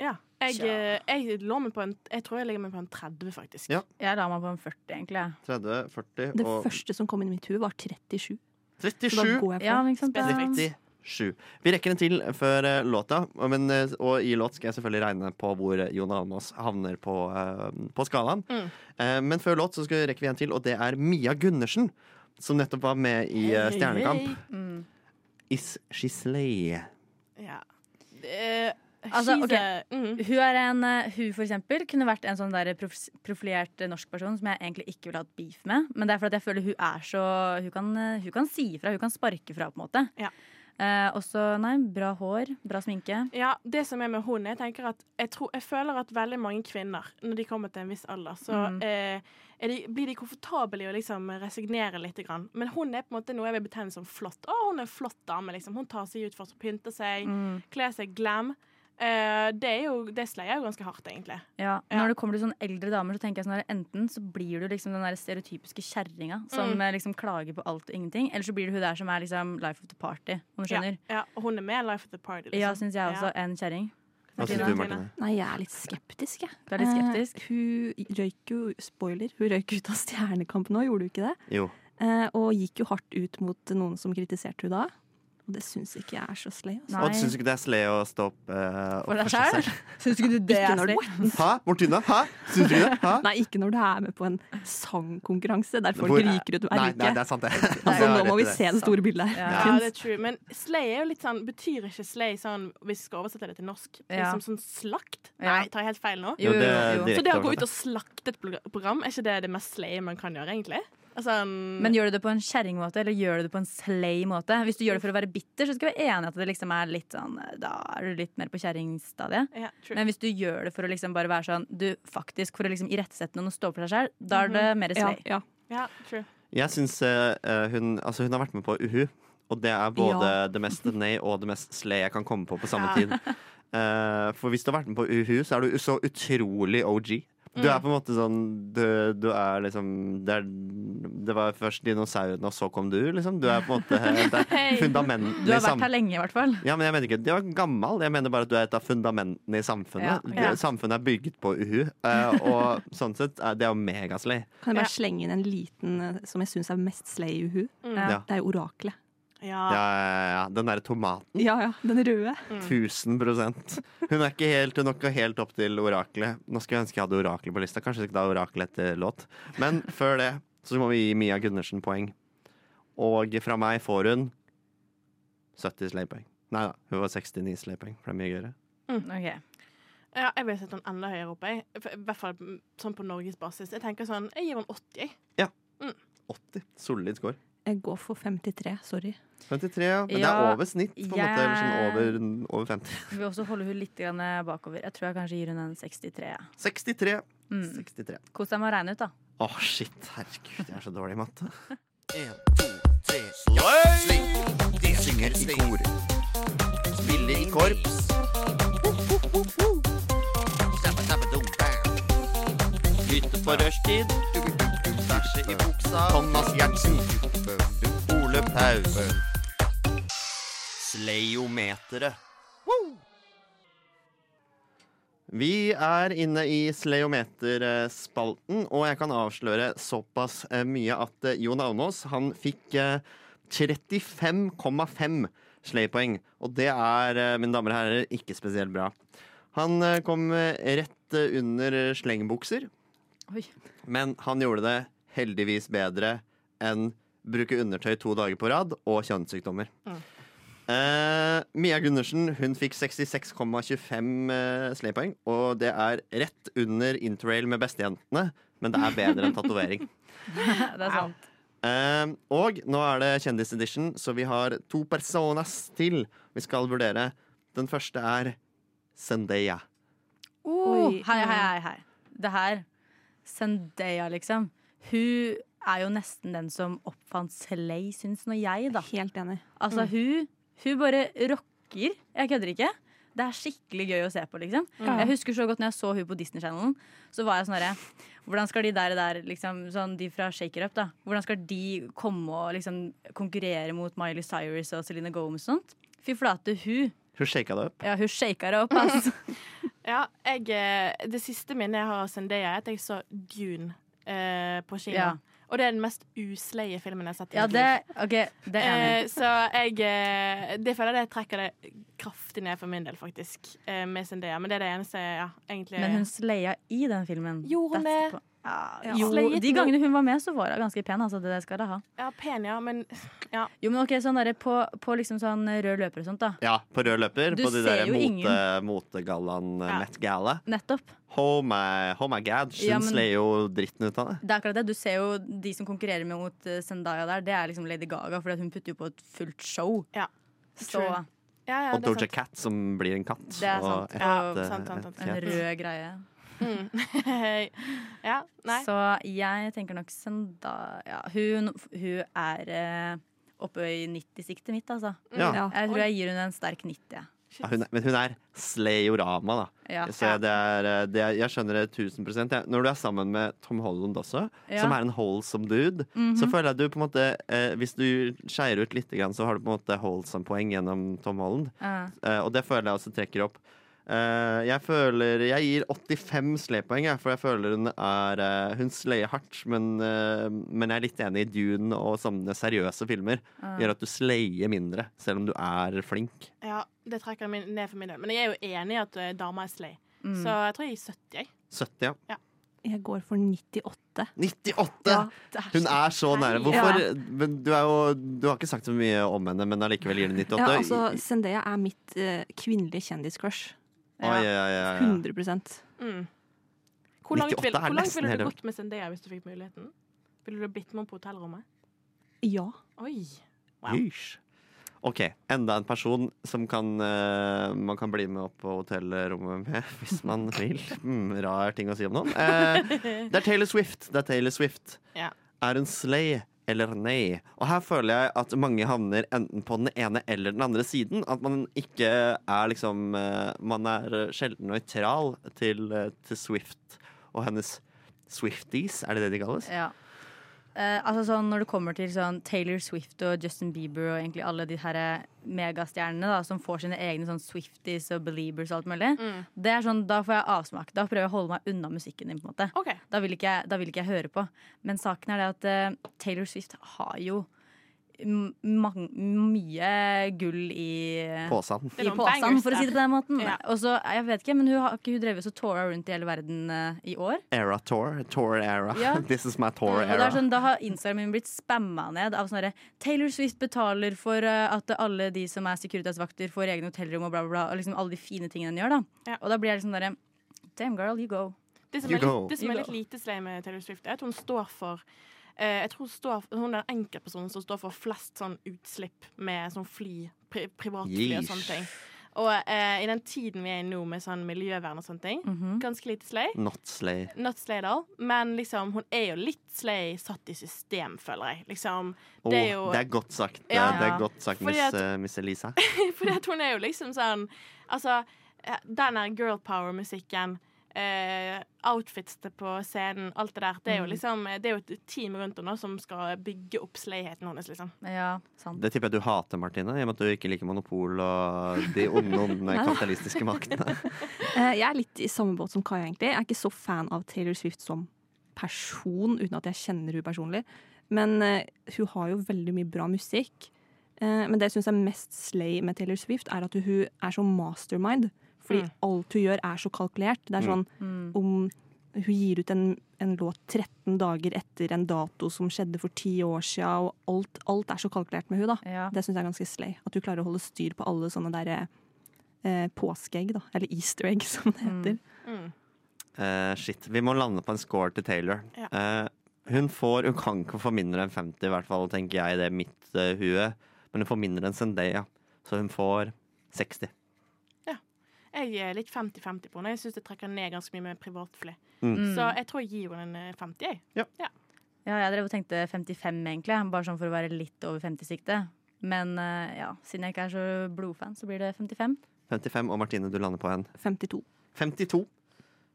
Speaker 6: Ja. Jeg,
Speaker 7: Tja.
Speaker 6: eh, jeg lå meg på en Jeg tror jeg legger meg på en 30, faktisk.
Speaker 5: Ja.
Speaker 7: Jeg la meg på en 40, egentlig.
Speaker 5: 30, 40
Speaker 1: Det
Speaker 5: og
Speaker 1: første som kom inn i mitt hue, var 37. Så da
Speaker 5: 37.
Speaker 1: går jeg for Ja, men ikke sant, da-
Speaker 5: 37. Vi rekker en til før eh, låta, og- men, eh, og i låt skal jeg selvfølgelig regne på hvor eh, Jon Almaas havner på, eh, på skalaen.
Speaker 6: Mm.
Speaker 5: Eh, Men før låt så skal rekker vi en til, og det er Mia Gundersen, som nettopp var med i eh, Stjernekamp.
Speaker 6: Mm.
Speaker 5: Is she slay?
Speaker 6: Ja. Eh,
Speaker 7: Altså,
Speaker 6: She's mm.
Speaker 7: ok, Hun er en eh, Hun for eksempel kunne vært en sånn der prof- profilert eh, norsk person som jeg egentlig ikke ville hatt beef med. Men det er fordi at jeg føler hun er så Hun kan, eh, hun kan si ifra. Hun kan sparke fra, på en måte. Eh, også, nei, bra hår, bra sminke.
Speaker 6: Ja, det som er med hun, jeg tenker at jeg, tror, jeg føler at veldig mange kvinner, når de kommer til en viss alder, så
Speaker 7: Mhm.
Speaker 6: eh, er de, blir de komfortable i å liksom resignere litt. Grann. Men hun er på en måte noe jeg vil betegne som flott. Å, hun er en flott dame, liksom. Hun tar seg ut først og pynter seg,
Speaker 7: Mhm.
Speaker 6: kler seg glam. Eh, det er jo, det sleier jo ganske hardt, egentlig.
Speaker 7: Ja, Når det kommer til sånne eldre damer, så tenker jeg sånn her, enten så blir du liksom den der stereotypiske kjerringa som
Speaker 6: Mm.
Speaker 7: eh, liksom klager på alt og ingenting, eller så blir du hun der som er liksom life of the party, om du skjønner.
Speaker 6: Ja, Liksom. ja, og hun er med i Life of the Party.
Speaker 7: Ja, syns jeg også. En kjerring.
Speaker 5: Hva synes du, Martine?
Speaker 1: Nei, jeg er litt skeptisk, jeg.
Speaker 7: Du er litt skeptisk?
Speaker 1: Eh, hun røyk jo spoiler, hun røyk ut av Stjernekampen nå, gjorde hun ikke det?
Speaker 5: Jo.
Speaker 1: Eh, og gikk jo hardt ut mot noen som kritiserte hun da. Og det syns ikke jeg er så slay. altså.
Speaker 5: Og syns du ikke det er slay å stå opp eh,
Speaker 1: For
Speaker 5: opp
Speaker 1: deg
Speaker 5: for seg
Speaker 1: selv?
Speaker 5: selv?
Speaker 7: Syns ikke du
Speaker 1: det er slay?
Speaker 5: Hæ, Martine? Hæ? Syns du ikke det? Hæ?
Speaker 1: Nei, ikke når du er med på en sangkonkurranse der folk
Speaker 5: Hvor-
Speaker 1: ryker ut hver
Speaker 5: Nei, nei, det
Speaker 1: uke.
Speaker 5: er sant, det.
Speaker 1: Altså, nå må vi se det store bildet her.
Speaker 6: Ja,
Speaker 1: Kunst.
Speaker 6: det er true. Men slay er jo litt sånn Betyr ikke slay sånn, hvis vi skal oversette det til norsk,
Speaker 7: Ja.
Speaker 6: liksom sånn slakt?
Speaker 7: Ja.
Speaker 6: Nei, tar jeg helt feil nå?
Speaker 5: Jo, det er Jo, jo, jo.
Speaker 6: Så det å
Speaker 5: direkte
Speaker 6: gå ut
Speaker 5: oversatt.
Speaker 6: og slakte et progr- program, er ikke det det mest slay man kan gjøre, egentlig? Altså,
Speaker 7: Men gjør du det på en kjerringmåte eller gjør du det på en slay-måte? Hvis du gjør det for å være bitter, så skal vi være enige at det liksom er litt sånn eh, Da er du litt mer på kjerringstadiet.
Speaker 6: Ja, true.
Speaker 7: Men hvis du gjør det for å liksom bare være sånn Du faktisk for å liksom irettesette noen og stå opp for deg selv, da er det
Speaker 6: Mhm.
Speaker 7: mer slay.
Speaker 1: Ja,
Speaker 6: ja true.
Speaker 5: Jeg syns eh, eh, hun Altså, hun har vært med på Uhu, og det er både
Speaker 6: Ja.
Speaker 5: det mest nei og det mest slay jeg kan komme på på samme
Speaker 6: Ja.
Speaker 5: tid. Eh, for hvis du har vært med på Uhu, så er du så utrolig OG. Du
Speaker 6: Mm.
Speaker 5: er på en måte sånn Du, du er liksom det, er, det var først dinosaurene, og så kom du, liksom. Du er på en måte eh, Det
Speaker 7: Hei.
Speaker 5: er fundamentet
Speaker 7: Du har
Speaker 5: i sam-
Speaker 7: vært her lenge, i hvert fall.
Speaker 5: Ja, men jeg mener ikke Du er gammel. Jeg mener bare at du er et av fundamentene i samfunnet.
Speaker 7: Ja, ok.
Speaker 5: Du- Samfunnet er bygget på Uhu, eh, og sånn sett er det er jo megaslay.
Speaker 1: Kan jeg bare slenge inn en liten eh, som jeg syns er mest slay i hu?
Speaker 6: Mm.
Speaker 5: Ja.
Speaker 1: Det er jo oraklet.
Speaker 5: Ja, ja, ja. Den derre tomaten.
Speaker 1: Ja ja, den røde.
Speaker 5: 1000 Hun er ikke helt, hun nok helt opp til oraklet. Nå skulle jeg ønske jeg hadde oraklet på lista. Kanskje jeg skal ta oraklet etter låt. Men før det så må vi gi Mia Gundersen poeng. Og fra meg får hun 70 slaypoeng. Nei da, hun var 69 slaypoeng, for det er mye gøyere.
Speaker 6: Mm. Ja, jeg ville sett den enda høyere oppe, jeg. For- i hvert fall mm, sånn på Norges basis. Jeg tenker sånn, jeg gir den 80. jeg.
Speaker 5: Solid score.
Speaker 1: Jeg går for 53, sorry.
Speaker 5: 53, ja. Men det
Speaker 7: Ja,
Speaker 5: er over snitt, på en
Speaker 7: jeg-
Speaker 5: måte. Eller sånn over, over 50.
Speaker 7: Vi vil også holde hun litt grann eh, bakover. Jeg tror jeg kanskje gir hun en 63. ja.
Speaker 5: 63.
Speaker 7: Mm.
Speaker 5: 63.
Speaker 7: Kos deg med å regne ut, da.
Speaker 5: Å, shit. Herregud, jeg er så dårlig i matte.
Speaker 15: En, to, tre, ja, slay. De synger i kor. Spiller i korps. Stabba, stabba, dum, bam. Hytte på rushtid. Bæsje i buksa. Thomas Gjertsen. Ole Paus. Sleiometeret.
Speaker 5: Vi er inne i Sleometer-spalten, og jeg kan avsløre såpass eh, mye at eh, Jon Almås han fikk eh, 35,5 sleipoeng. Og det er, eh, mine damer og herrer, ikke spesielt bra. Han eh, kom eh, rett eh, under slengbukser,
Speaker 7: Oi.
Speaker 5: men han gjorde det heldigvis bedre enn bruke undertøy to dager på rad og kjønnssykdommer.
Speaker 6: Mm.
Speaker 5: Eh, Mia Gundersen hun fikk 66,25 uh, slaypoeng, og det er rett under interrail med bestejentene, men det er bedre enn tatovering.
Speaker 7: det er sant.
Speaker 5: Eh, og nå er det kjendisedition, så vi har to personas til vi skal vurdere. Den første er Zendaya.
Speaker 7: Oh,
Speaker 1: Oi.
Speaker 7: hei, hei, hei, hei. Det her Zendaya, liksom. Hun er jo nesten den som oppfant Slay, syns nå jeg, da.
Speaker 1: Helt enig.
Speaker 7: Altså,
Speaker 1: Mm.
Speaker 7: hun, hun bare rocker. Jeg kødder ikke. Det er skikkelig gøy å se på, liksom.
Speaker 1: Ja.
Speaker 7: Jeg husker så godt når jeg så hun på Disney Channelen, så var jeg sånn herre Hvordan skal de der, der liksom, sånn de fra Shaker Up, da, hvordan skal de komme og liksom konkurrere mot Miley Cyrus og Celine Gomez og sånt? Fy flate, hun.
Speaker 5: Hun shaka det opp.
Speaker 7: Ja, hun shaka det opp, ass.
Speaker 6: Ja, jeg, eh, det siste minnet jeg har av Zendaya, er at jeg så Dune eh, på kino.
Speaker 7: Ja.
Speaker 6: Og det er den mest usleie filmen jeg har sett. i
Speaker 7: Ja,
Speaker 6: mitt
Speaker 7: det,
Speaker 6: liv.
Speaker 7: ok, det er
Speaker 6: Eh,
Speaker 7: enig.
Speaker 6: så jeg eh, Det føler jeg det trekker det kraftig ned for min del, faktisk. Eh, med Zendaya. Men det er det eneste ja, egentlig
Speaker 7: Men hun sleia i den filmen. Gjorde
Speaker 6: hun det? Ja.
Speaker 7: Jo,
Speaker 6: Slayet
Speaker 7: de
Speaker 6: nå.
Speaker 7: gangene hun var med, så var hun ganske pen. Altså, det skal hun ha.
Speaker 6: Ja, pen, ja, men ja.
Speaker 7: Jo, men ok, sånn der, på, på liksom sånn rød løper og sånt, da.
Speaker 5: Ja, på rød løper.
Speaker 7: Du
Speaker 5: på de
Speaker 7: ser
Speaker 5: der
Speaker 7: jo ingen.
Speaker 5: mote, motegallaen eh,
Speaker 7: Ja.
Speaker 5: Met Gala.
Speaker 7: Nettopp.
Speaker 5: Oh my, oh my god, hun
Speaker 7: Ja, men-
Speaker 5: sler jo dritten ut av det.
Speaker 7: Det er akkurat det. Du ser jo de som konkurrerer med mot eh, Zendaya der, det er liksom Lady Gaga, for hun putter jo på et fullt show. Så
Speaker 6: True. Ja, ja,
Speaker 5: Og
Speaker 6: det er
Speaker 5: Doja
Speaker 6: sant.
Speaker 5: Cat som blir en katt.
Speaker 7: Det er sant.
Speaker 5: Og et,
Speaker 7: Ja,
Speaker 5: eh,
Speaker 7: sant, sant,
Speaker 5: et
Speaker 7: sant. En
Speaker 5: fjes.
Speaker 7: rød greie.
Speaker 6: Mm. ja, nei.
Speaker 7: Så jeg tenker nok Zendaya ja, hun, hun er eh, oppe i 90-siktet mitt, altså.
Speaker 5: Ja. Ja.
Speaker 7: Jeg tror
Speaker 5: Oi.
Speaker 7: jeg gir henne en sterk 90. jeg.
Speaker 5: Ja, hun er, men hun er sleyorama, da.
Speaker 7: Ja.
Speaker 5: Så det er, eh, det er, jeg skjønner det 1000 jeg, Når du er sammen med Tom Holland også,
Speaker 7: Ja.
Speaker 5: som er en wholesome dude,
Speaker 7: Mhm.
Speaker 5: så føler jeg at du på en måte eh, Hvis du skeier ut litt, grann, så har du på en måte wholesome-poeng gjennom Tom Holland.
Speaker 7: Ja.
Speaker 5: Eh, og det føler jeg også trekker opp. Eh, jeg føler Jeg gir 85 slepoeng, jeg, for jeg føler hun er eh, Hun sleer hardt, men, eh, men jeg er litt enig i Dune og sånne seriøse filmer.
Speaker 6: Ja.
Speaker 5: Gjør at du sleier mindre, selv om du er flink.
Speaker 6: Ja, det trekker min, ned for min del. Men jeg er jo enig i at eh, dama er slay.
Speaker 5: Mm.
Speaker 6: Så jeg tror jeg gir 70, jeg.
Speaker 5: 70, ja.
Speaker 1: Jeg går for 98.
Speaker 5: 98! Hun er så nære. Hvorfor? Men du, er jo, du har ikke sagt så mye om henne, men allikevel gir hun 98.
Speaker 1: Ja, altså, Zendaya er mitt eh, kvinnelige kjendiscrush.
Speaker 5: Oi, oi, oi, oi, oi.
Speaker 1: 100
Speaker 6: Mm. Hvor langt,
Speaker 5: 98
Speaker 6: vil,
Speaker 5: er
Speaker 6: hvor langt
Speaker 5: nesten
Speaker 6: ville du
Speaker 5: hele-
Speaker 6: gått med Zendaya hvis du fikk muligheten? Ville du blitt med på hotellrommet?
Speaker 1: Ja.
Speaker 6: Oi.
Speaker 5: Hysj. OK, enda en person som kan, eh, man kan bli med opp på hotellrommet med hvis man vil. Mm, rar ting å si om noen. Eh, det er Taylor Swift. Det er Taylor Swift.
Speaker 6: Ja.
Speaker 5: Er hun slay eller nei? Og her føler jeg at mange havner enten på den ene eller den andre siden. At man ikke er liksom eh, Man er sjelden nøytral til, eh, til Swift og hennes Swifties, er det det de kalles?
Speaker 7: Ja. Eh, altså sånn Når det kommer til sånn Taylor Swift og Justin Bieber og egentlig alle de her eh, megastjernene da som får sine egne sånn Swifties og Beliebers og alt mulig,
Speaker 6: Mm.
Speaker 7: Det er sånn, da får jeg avsmak. Da prøver jeg å holde meg unna musikken din. på en måte da, vil ikke jeg, da vil ikke jeg høre på. Men saken er det at eh, Taylor Swift har jo m- mang, mye gull i
Speaker 5: Påsan. Det er
Speaker 7: I
Speaker 5: noen
Speaker 7: påsan,
Speaker 5: bangers
Speaker 7: for å si det på
Speaker 5: der.
Speaker 7: den måten. Og så, jeg vet ikke, men hun har ikke hun drevet og tora rundt i hele verden eh, i år.
Speaker 5: Era tour. Tour era.
Speaker 7: Ja.
Speaker 5: This is my tour
Speaker 7: Og det
Speaker 5: era.
Speaker 7: er sånn, da har Instagram min blitt spamma ned av sånn herre Taylor Swift betaler for eh, at alle de som er Securitas-vakter, får egne hotellrom og bla, bla, bla. Og liksom alle de fine tingene hun gjør, da. Og da blir jeg liksom derre Damn girl, you go.
Speaker 6: Det som,
Speaker 7: You
Speaker 6: er litt,
Speaker 7: go.
Speaker 6: det som
Speaker 7: You
Speaker 6: er
Speaker 7: go.
Speaker 6: litt lite slay med Taylor Swift, er at hun står for eh, jeg tror hun, står, hun er den enkeltpersonen som står for flest sånn utslipp med sånn fly, pri, privatfly og
Speaker 5: Yeesh.
Speaker 6: sånne ting. Og eh, i den tiden vi er i nå med sånn miljøvern og sånne ting,
Speaker 7: Mhm.
Speaker 6: ganske lite slay.
Speaker 5: Not slay.
Speaker 6: Not slay at all, men liksom, hun er jo litt slay satt i system, føler jeg. Liksom,
Speaker 5: Åh,
Speaker 6: det er jo
Speaker 5: det er godt sagt, eh,
Speaker 6: Ja.
Speaker 5: det er godt sagt
Speaker 6: Fordi
Speaker 5: miss,
Speaker 6: at-
Speaker 5: eh, miss Elisa.
Speaker 6: Fordi at hun er jo liksom sånn Altså, eh, den der girl power-musikken, eh, outfits til på scenen, alt det der, det er jo
Speaker 7: Mm.
Speaker 6: liksom Det er jo et team rundt henne som skal bygge opp sleigheten hennes, liksom.
Speaker 7: Ja, sant.
Speaker 5: Det tipper jeg du hater, Martine, i og med at du ikke liker monopol og de onde, onde
Speaker 1: Nei.
Speaker 5: kapitalistiske maktene.
Speaker 1: Eh, Jeg er litt i samme båt som Kaja, egentlig. Jeg er ikke så fan av Taylor Swift som person, uten at jeg kjenner hun personlig. Men eh, hun har jo veldig mye bra musikk. Eh, men det jeg syns er mest slay med Taylor Swift, er at hun er så mastermind. Fordi
Speaker 7: Mm.
Speaker 1: alt hun gjør, er så kalkulert. Det er sånn
Speaker 7: Mm. Mm.
Speaker 1: om hun gir ut en, en låt 13 dager etter en dato som skjedde for ti år sia, og alt, alt er så kalkulert med hun da. Det syns jeg er ganske slay. At hun klarer å holde styr på alle sånne derre eh, påskeegg, da. Eller easter egg, som
Speaker 7: Mm.
Speaker 1: det heter.
Speaker 5: Eh, shit, vi må lande på en score til Taylor. Eh, hun, får, hun kan ikke få mindre enn 50, i hvert fall tenker jeg det er mitt eh, hue. Men hun får mindre enn Zendaya, så hun får 60.
Speaker 6: Jeg er litt 50-50 på henne. Jeg syns det trekker ned ganske mye med privatfly.
Speaker 5: Mm.
Speaker 6: Så jeg tror jeg gir henne en eh, 50, jeg.
Speaker 7: Ja, jeg drev og tenkte 55 egentlig, bare sånn for å være litt over 50-siktet. Men eh, ja, siden jeg ikke er så blodfan, så blir det 55.
Speaker 5: 55, og Martine, du lander på en.
Speaker 1: 52.
Speaker 5: 52.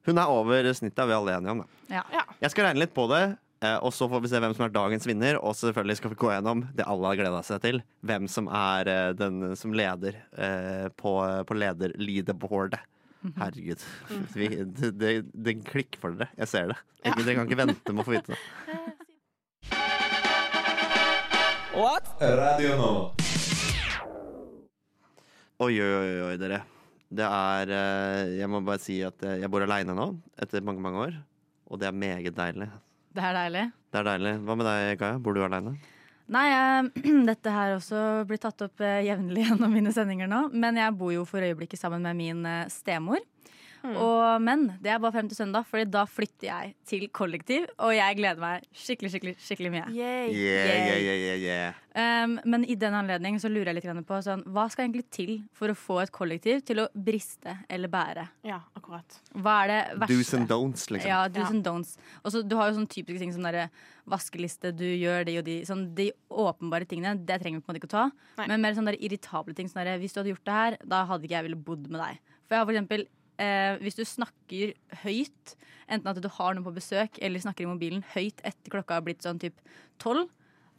Speaker 5: Hun er over snittet, er vi alle enige om det.
Speaker 7: Ja.
Speaker 5: Jeg skal regne litt på det, eh, og så får vi se hvem som er dagens vinner. Og selvfølgelig skal vi gå gjennom det alle har gleda seg til. Hvem som er eh, den som leder eh, på, på lederleaderboardet. Herregud. Vi, det, det, det klikker for dere. Jeg ser det. Ikke- Dere kan ikke vente med å få vite det.
Speaker 2: What?
Speaker 5: Radio Oi, oi, oi, oi, dere. Det er eh, Jeg må bare si at eh, jeg bor aleine nå, etter mange, mange år. Og det er meget deilig.
Speaker 7: Det er deilig.
Speaker 5: Det er deilig. Hva med deg, Kaja? Bor du aleine?
Speaker 7: Nei, jeg- dette her også blir tatt opp eh, jevnlig gjennom mine sendinger nå. Men jeg bor jo for øyeblikket sammen med min eh, stemor. Og, men det er bare frem til søndag, Fordi da flytter jeg til kollektiv. Og jeg gleder meg skikkelig, skikkelig, skikkelig mye.
Speaker 5: Yeah, yeah, yeah, yeah, yeah.
Speaker 7: Um, men i den anledning så lurer jeg litt grann på sånn, hva skal egentlig til for å få et kollektiv til å briste eller bære?
Speaker 6: Ja, akkurat.
Speaker 7: Hva er det verste?
Speaker 5: Do's and don'ts, liksom.
Speaker 7: Ja, do's
Speaker 5: Ja.
Speaker 7: and don'ts. Og så du har jo sånne typiske ting som derre vaskeliste, du gjør de og de. Sånn, de åpenbare tingene, det trenger vi på en måte ikke å ta.
Speaker 6: Nei.
Speaker 7: Men mer sånne der irritable ting. Sånn derre, hvis du hadde gjort det her, da hadde ikke jeg ville bodd med deg. For jeg har for eksempel Eh, hvis du snakker høyt, enten at du har noen på besøk eller snakker i mobilen høyt etter klokka har blitt sånn typ tolv,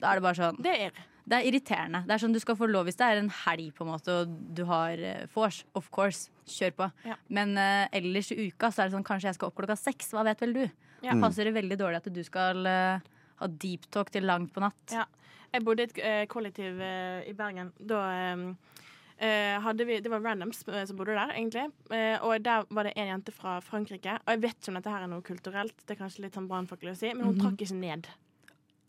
Speaker 7: da er det bare sånn
Speaker 6: Det er.
Speaker 7: Det er irriterende. Det er sånn du skal få lov hvis det er en helg på en måte og du har eh, vors. Of course, kjør på. Men eh, ellers i uka så er det sånn kanskje jeg skal opp klokka seks, hva vet vel du?
Speaker 6: Ja.
Speaker 7: Det Passer det veldig dårlig at du skal eh, ha deep talk til langt på natt?
Speaker 6: Ja. Jeg bodde i et eh, kollektiv eh, i Bergen. Da eh, eh, hadde vi Det var randoms eh, som bodde der, egentlig. Eh, og der var det en jente fra Frankrike. Og jeg vet ikke om dette her er noe kulturelt, det er kanskje litt sånn brannfakkel å si, men hun
Speaker 7: Mhm.
Speaker 6: trakk ikke ned.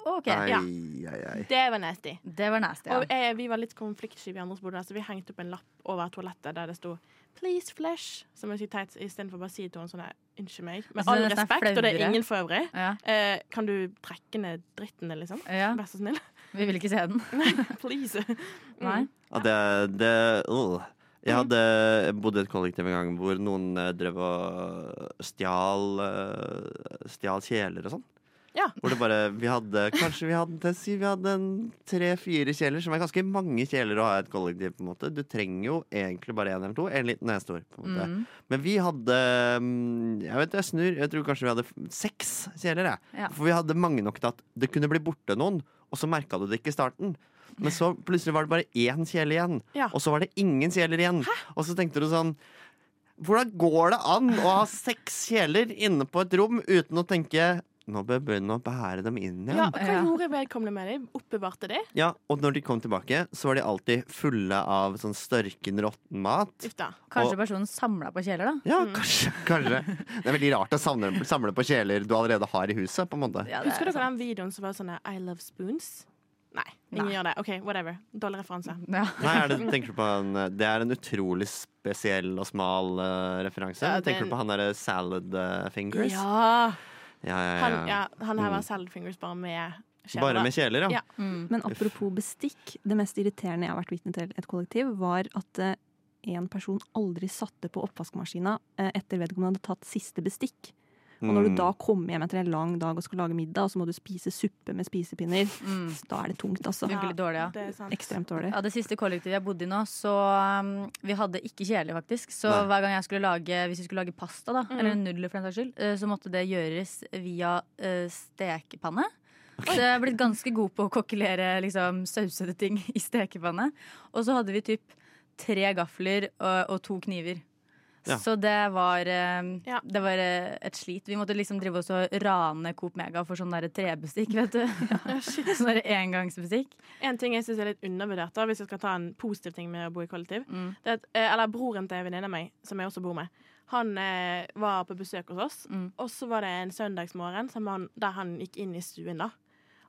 Speaker 7: Ok.
Speaker 6: Ja.
Speaker 5: ai,
Speaker 6: Det var nasty.
Speaker 7: Det var nasty, ja.
Speaker 6: Og eh, vi var litt konfliktsky, vi andre som bodde der, så vi hengte opp en lapp over toalettet der det sto 'Please flush', som er sykt teit, istedenfor bare å si til henne sånn her, unnskyld meg, med
Speaker 7: Jeg synes
Speaker 6: all
Speaker 7: det er sånn nesten
Speaker 6: respekt, og det er
Speaker 7: flauere.
Speaker 6: ingen for øvrig,
Speaker 7: Ja.
Speaker 6: eh, kan du trekke ned dritten din, liksom?
Speaker 7: Ja.
Speaker 6: Vær så snill.
Speaker 7: Vi vil ikke se den.
Speaker 6: Mm. Please.
Speaker 7: Nei.
Speaker 5: Ja, det, det øh. Jeg hadde bodd i et kollektiv en gang hvor noen eh, drev og stjal, eh, stjal kjeler og sånn.
Speaker 6: Ja.
Speaker 5: Hvor det bare Vi hadde kanskje vi hadde, si, vi hadde en tre-fire kjeler, som er ganske mange kjeler å ha i et kollektiv. på en måte Du trenger jo egentlig bare én eller to. En liten er stor. på en måte
Speaker 7: Mm.
Speaker 5: Men vi hadde mm, Jeg vet jeg snur, jeg tror kanskje vi hadde f- seks kjeler. Jeg.
Speaker 7: Ja.
Speaker 5: For vi hadde mange nok til at det kunne bli borte noen, og så merka du det ikke i starten. Men så plutselig var det bare én kjele igjen,
Speaker 6: Ja.
Speaker 5: og så var det ingen kjeler igjen. Og så tenkte du sånn hvordan går det an å ha seks kjeler inne på et rom uten å tenke Nå bør jeg begynne å bære dem inn igjen?
Speaker 6: Ja, og hva gjorde vedkommende med dem? Oppbevarte de?
Speaker 5: Ja, Og når de kom tilbake, så var de alltid fulle av sånn størken råtten mat.
Speaker 6: Uff da.
Speaker 7: Kanskje
Speaker 5: Og-
Speaker 7: personen samla på kjeler, da?
Speaker 5: Ja, kanskje, Mm. kanskje. Det er veldig rart å samle, samle på kjeler du allerede har i huset, på en måte.
Speaker 6: Husker dere den videoen som var sånn her, I love spoons? Nei, ingen gjør det. OK, whatever. Dårlig referanse.
Speaker 5: Nei, er det, tenker du på en, det er en utrolig spesiell og smal eh, referanse.
Speaker 6: Ja, det er
Speaker 5: tenker du på han derre salad eh, fingers?
Speaker 6: Ja.
Speaker 5: Ja, ja, ja.
Speaker 6: Han, ja, han her
Speaker 5: Mm.
Speaker 6: var salad fingers bare med kjeler.
Speaker 5: Bare
Speaker 6: da.
Speaker 5: med kjeler, ja.
Speaker 7: Mm,
Speaker 1: Men apropos bestikk, det mest irriterende jeg har vært vitne til i et kollektiv, var at eh, en person aldri satte på oppvaskmaskina eh, etter vedkommende hadde tatt siste bestikk. Og når
Speaker 14: Mm.
Speaker 1: du da kommer hjem etter en lang dag og skal lage middag, og så må du spise suppe med spisepinner, da er det tungt, altså.
Speaker 7: Funker litt dårlig, Mm. ja.
Speaker 1: Ekstremt dårlig.
Speaker 7: Ja, Det siste kollektivet jeg bodde i nå, så um, Vi hadde ikke kjele, faktisk. Så
Speaker 1: Nei.
Speaker 7: hver gang jeg skulle lage Hvis vi skulle lage pasta, da, eller nudler for den saks skyld, eh, så måtte det gjøres via eh, stekepanne. Så jeg er blitt ganske god på å kokkelere liksom, sausete ting i stekepanne. Og så hadde vi typ tre gafler og, og to kniver.
Speaker 16: Ja.
Speaker 7: Så det var, eh, det var eh, et slit. Vi måtte liksom drive oss og rane Coop Mega for sånn derre trebestikk, vet du. sånn derre engangsbestikk.
Speaker 6: En ting jeg syns er litt undervurdert, da, hvis jeg skal ta en positiv ting med å bo i kollektiv,
Speaker 7: Mm.
Speaker 6: det er at, eh, eller broren til en venninne av meg, som jeg også bor med, han eh, var på besøk hos oss,
Speaker 7: Mm.
Speaker 6: og så var det en søndagsmorgen som han, der han gikk inn i stuen, da.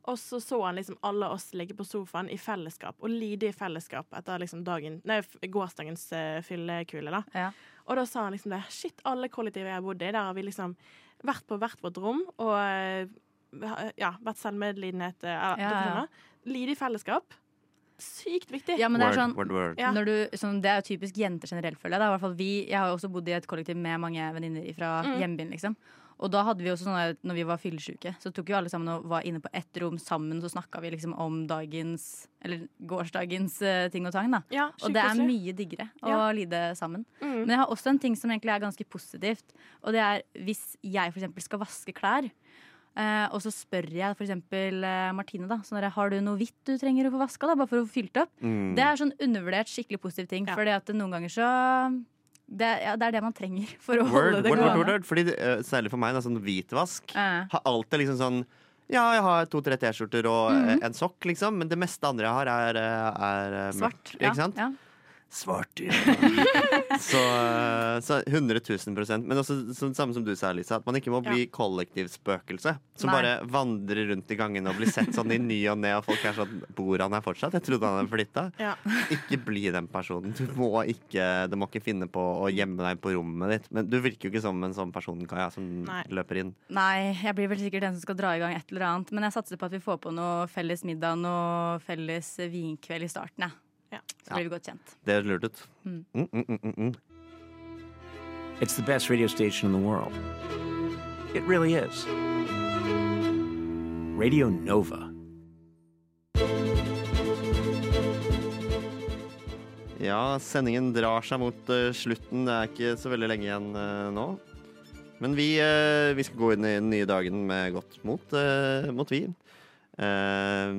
Speaker 6: Og så så han liksom alle oss ligge på sofaen i fellesskap, og lide i fellesskap etter liksom dagen, nei, f- gårsdagens eh, fyllekule, da. Og da sa han liksom det. Shit, alle kollektiver jeg har bodd i, der har vi liksom vært på hvert vårt rom og eh, ja, vært selvmedlidenhet eh, eller,
Speaker 7: Ja,
Speaker 6: dere
Speaker 7: ja.
Speaker 6: skjønner. Lide i fellesskap. Sykt viktig.
Speaker 7: Ja, men det er sånn,
Speaker 6: Ja.
Speaker 7: Når du, sånn Det er jo typisk jenter generelt, føler jeg. Da. I hvert fall vi, jeg har jo også bodd i et kollektiv med mange venninner fra
Speaker 6: Mm.
Speaker 7: hjembyen. liksom og da hadde vi også sånn at når vi var fyllesyke, så tok jo alle sammen og var inne på ett rom sammen. Så snakka vi liksom om dagens, eller gårsdagens eh, ting og tang, da.
Speaker 16: Ja,
Speaker 7: og det er
Speaker 16: sjukkoselig.
Speaker 7: mye diggere å
Speaker 16: Ja.
Speaker 7: lide sammen.
Speaker 16: Mm.
Speaker 7: Men jeg har også en ting som egentlig er ganske positivt. Og det er hvis jeg f.eks. skal vaske klær, eh, og så spør jeg f.eks. Uh, Martine, da. Sånn der, har du noe hvitt du trenger å få vaska, da? Bare for å få fylt opp.
Speaker 5: Mm.
Speaker 7: Det er sånn undervurdert, skikkelig positiv ting. Fordi at noen ganger så det, ja, det er det man trenger for å holde
Speaker 5: Word, word,
Speaker 7: det
Speaker 5: word, word,
Speaker 7: gående.
Speaker 5: word. Fordi, eh, særlig for meg, da, sånn hvitvask
Speaker 7: Ja.
Speaker 5: har alltid liksom sånn ja, jeg har to-tre T-skjorter og eh,
Speaker 7: Mhm.
Speaker 5: en sokk, liksom, men det meste andre jeg har, er, eh, er eh,
Speaker 7: Svart,
Speaker 5: mørkt.
Speaker 7: ja,
Speaker 5: Ikke sant?
Speaker 7: ja.
Speaker 5: svarte så, eh, så 100 000 Men også som, samme som du sa, Lisa, at man ikke må bli
Speaker 6: Ja.
Speaker 5: kollektivspøkelse. Som
Speaker 6: Nei.
Speaker 5: bare vandrer rundt i gangene og blir sett sånn i ny og ne, og folk er sånn Bor han her fortsatt? Jeg trodde han hadde flytta.
Speaker 6: Ja.
Speaker 5: Ikke bli den personen. Du må ikke, du må ikke finne på å gjemme deg på rommet ditt. Men du virker jo ikke som en sånn person, Kaja, som
Speaker 7: Nei.
Speaker 5: løper inn.
Speaker 7: Nei, jeg blir vel sikkert den som skal dra i gang et eller annet. Men jeg satser på at vi får på noe felles middag og felles vinkveld i starten. jeg. Så blir vi godt kjent.
Speaker 5: Det høres lurt ut.
Speaker 7: Mm.
Speaker 5: Mm, mm, mm, mm, mm.
Speaker 14: It's the best radio station in the world. It really is. Radio Nova.
Speaker 5: Ja, sendingen drar seg mot eh, slutten. Det er ikke så veldig lenge igjen eh, nå. Men vi, eh, vi skal gå inn i den nye dagen med godt mot, eh, mot vi. Eh,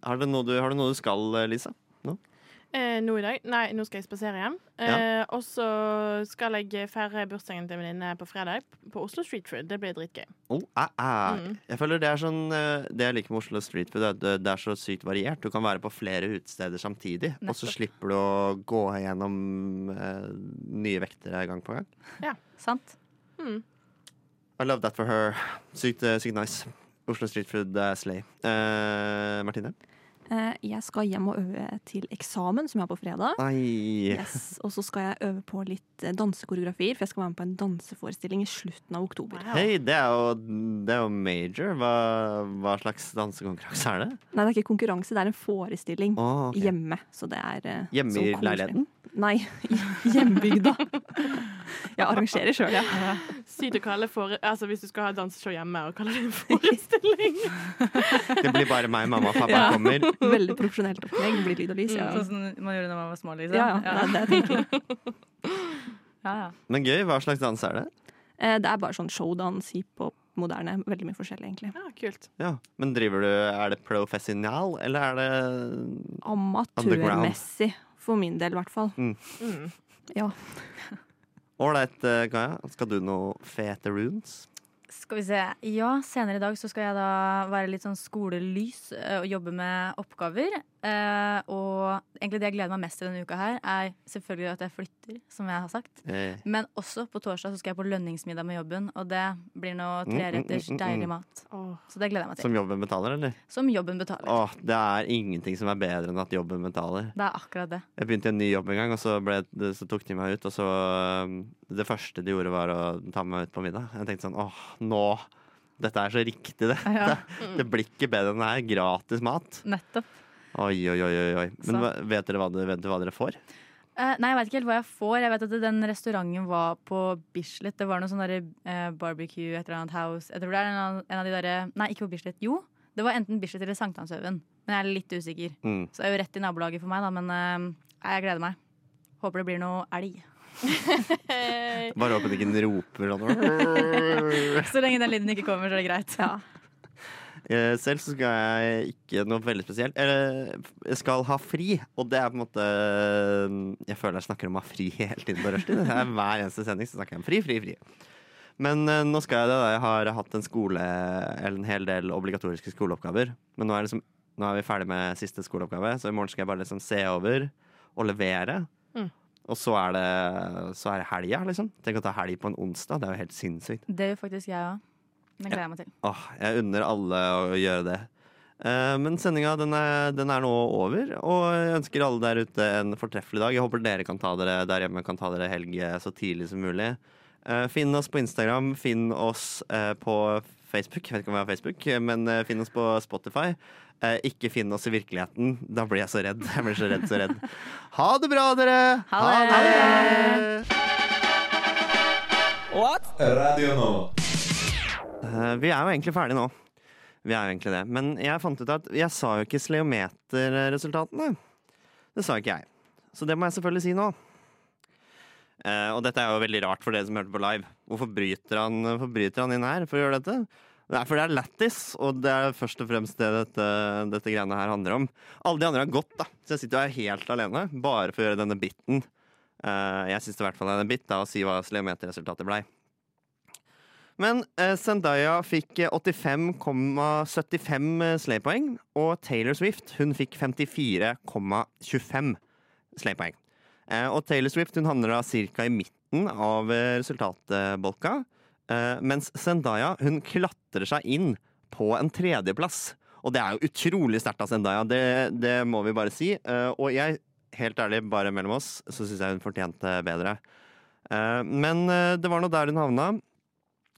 Speaker 5: har, du noe du, har du noe du skal, eh, Lisa? Nå?
Speaker 6: Eh, nå i dag? Nei, nå skal jeg spasere hjem. Eh, Og så skal jeg feire bursdagen til en venninne på fredag på Oslo Street Food. Det blir dritgøy.
Speaker 5: Oh, æ, æ.
Speaker 6: Mm.
Speaker 5: Jeg føler det er sånn eh, Det jeg liker med Oslo Street Food, er at det- det er så sykt variert. Du kan være på flere utesteder samtidig, og så
Speaker 7: Nettopp.
Speaker 5: slipper du å gå gjennom eh, nye vektere gang på gang.
Speaker 6: Ja.
Speaker 7: Sant?
Speaker 5: I love that for her. Sykt, eh, sykt nice. Oslo Street Food eh, Slay. Eh, Martine?
Speaker 1: Eh, Jeg skal hjem og øve til eksamen som er på fredag.
Speaker 5: Nei.
Speaker 1: Yes. Og så skal jeg øve på litt eh, dansekoreografier, for jeg skal være med på en danseforestilling i slutten av oktober.
Speaker 5: Hei, det er jo, det er jo major. Hva, hva slags dansekonkurranse er det?
Speaker 1: Nei, det er ikke konkurranse, det er en forestilling
Speaker 5: Å, Ah, ok.
Speaker 1: hjemme. Så det er eh,
Speaker 5: Hjemme
Speaker 1: så
Speaker 5: i
Speaker 1: koselig.
Speaker 5: leiligheten?
Speaker 1: Nei, i hjembygda. Jeg arrangerer sjøl, ja.
Speaker 6: Sykt å kalle fore... Altså, hvis du skal ha danseshow hjemme, og kalle det en forestilling.
Speaker 5: Det blir bare meg, mamma og pappa
Speaker 1: Ja.
Speaker 5: kommer.
Speaker 1: Veldig profesjonelt opplegg. Det blir lyd og lys.
Speaker 5: Mm,
Speaker 1: Ja.
Speaker 7: Sånn som man gjorde når man var små, liksom.
Speaker 1: Ja, ja, det er det jeg tenker.
Speaker 7: Ja, ja.
Speaker 5: Men gøy. Hva slags dans er det?
Speaker 1: Eh, Det er bare sånn showdans, hiphop, moderne. Veldig mye forskjellig, egentlig.
Speaker 6: Ja, kult.
Speaker 5: Ja, Men driver du Er det professional, eller er det underground?
Speaker 1: Amatørmessig, for min del i hvert fall.
Speaker 5: Mm.
Speaker 1: Ja.
Speaker 5: Ålreit, eh, Kaja. Skal du noe fete runes?
Speaker 7: Skal vi se. Ja, senere i dag så skal jeg da være litt sånn skolelys eh, og jobbe med oppgaver. Eh, og egentlig det jeg gleder meg mest til denne uka her, er selvfølgelig at jeg flytter, som jeg har sagt.
Speaker 5: Eh.
Speaker 7: Men også på torsdag så skal jeg på lønningsmiddag med jobben, og det blir nå
Speaker 5: Mm,
Speaker 7: treretters
Speaker 5: mm, mm, mm, mm.
Speaker 7: deilig mat. Så det gleder jeg meg
Speaker 5: Som
Speaker 7: til.
Speaker 5: jobben betaler, eller?
Speaker 7: Som jobben betaler.
Speaker 5: Åh, det er ingenting som er bedre enn at jobben betaler.
Speaker 7: Det er akkurat det.
Speaker 5: Jeg begynte i en ny jobb en gang, og så, ble, så tok de meg ut. Og så um, Det første de gjorde, var å ta meg ut på middag. Jeg tenkte sånn åh, nå Dette er så riktig, det. Det, det blir ikke bedre enn det her. Gratis mat.
Speaker 7: Nettopp.
Speaker 5: Oi, oi, oi. oi, oi. Men
Speaker 7: Så.
Speaker 5: hva, vet, dere hva, dere- vet dere hva dere får?
Speaker 7: Eh, nei, jeg vet ikke helt hva jeg får. Jeg vet at den restauranten var på Bislett. Det var noe sånn derre eh, barbecue, et eller annet house. Jeg tror det er en av, en av de derre Nei, ikke på Bislett. Jo, det var enten Bislett eller Sankthanshaugen. Men jeg er litt usikker.
Speaker 5: Mm.
Speaker 7: Så det er jo rett i nabolaget for meg, da. Men eh, nei, jeg gleder meg. Håper det blir noe elg.
Speaker 5: Bare håper de ikke roper sånn.
Speaker 7: så lenge den lyden ikke kommer, så er det greit.
Speaker 5: Eh, Selv så skal jeg ikke noe veldig spesielt. Eller jeg skal ha fri, og det er på en måte eh, Jeg føler jeg snakker om å ha fri hele tiden på rushtid. Det er Hver eneste sending så snakker jeg om fri, fri, fri. Men eh, nå skal jeg det. da. Jeg har hatt en skole Eller en hel del obligatoriske skoleoppgaver. Men nå er, liksom, nå er vi ferdig med siste skoleoppgave, så i morgen skal jeg bare liksom se over og levere.
Speaker 7: Mm.
Speaker 5: Og så er det, så er det helga, liksom. Tenk å ta helg på en onsdag. Det er jo helt sinnssykt.
Speaker 7: Det gjør faktisk jeg òg. Det gleder jeg meg til.
Speaker 5: Åh, jeg unner alle å gjøre det. Eh, Men sendinga den er, den er nå over, og jeg ønsker alle der ute en fortreffelig dag. Jeg håper dere kan ta dere der hjemme kan ta dere helg eh, så tidlig som mulig. Eh, Finn oss på Instagram, finn oss eh, på Facebook, jeg vet ikke om vi har Facebook, men eh, finn oss på Spotify. Eh, Ikke finn oss i virkeligheten. Da blir jeg så redd. Jeg blir så redd, så redd. Ha det bra, dere!
Speaker 3: Ha
Speaker 2: What?
Speaker 5: Radio Nova. Eh, vi er jo egentlig ferdige nå. Vi er jo egentlig det. Men jeg fant ut at jeg sa jo ikke sleometerresultatene. Det sa ikke jeg. Så det må jeg selvfølgelig si nå. Eh, og dette er jo veldig rart for dere som hørte på live. Hvorfor bryter han, hvorfor bryter han inn her for å gjøre dette? Det er fordi det er lættis, og det er først og fremst det dette, dette greiene her handler om. Alle de andre har gått, da, så jeg sitter jo her helt alene bare for å gjøre denne biten. Eh, jeg syns i hvert fall det er en bit da, å si hva sleometerresultatet blei. Men eh, Zendaya fikk eh, 85,75 eh, slaypoeng, og Taylor Swift hun fikk 54,25 slaypoeng. Eh, Og Taylor Swift hun havner da cirka i midten av eh, resultatbolka. Eh, Mens Zendaya hun klatrer seg inn på en tredjeplass. Og det er jo utrolig sterkt av Zendaya, det, det må vi bare si. Eh, Og jeg, helt ærlig, bare mellom oss, så syns jeg hun fortjente bedre. Eh, Men eh, det var nå der hun havna.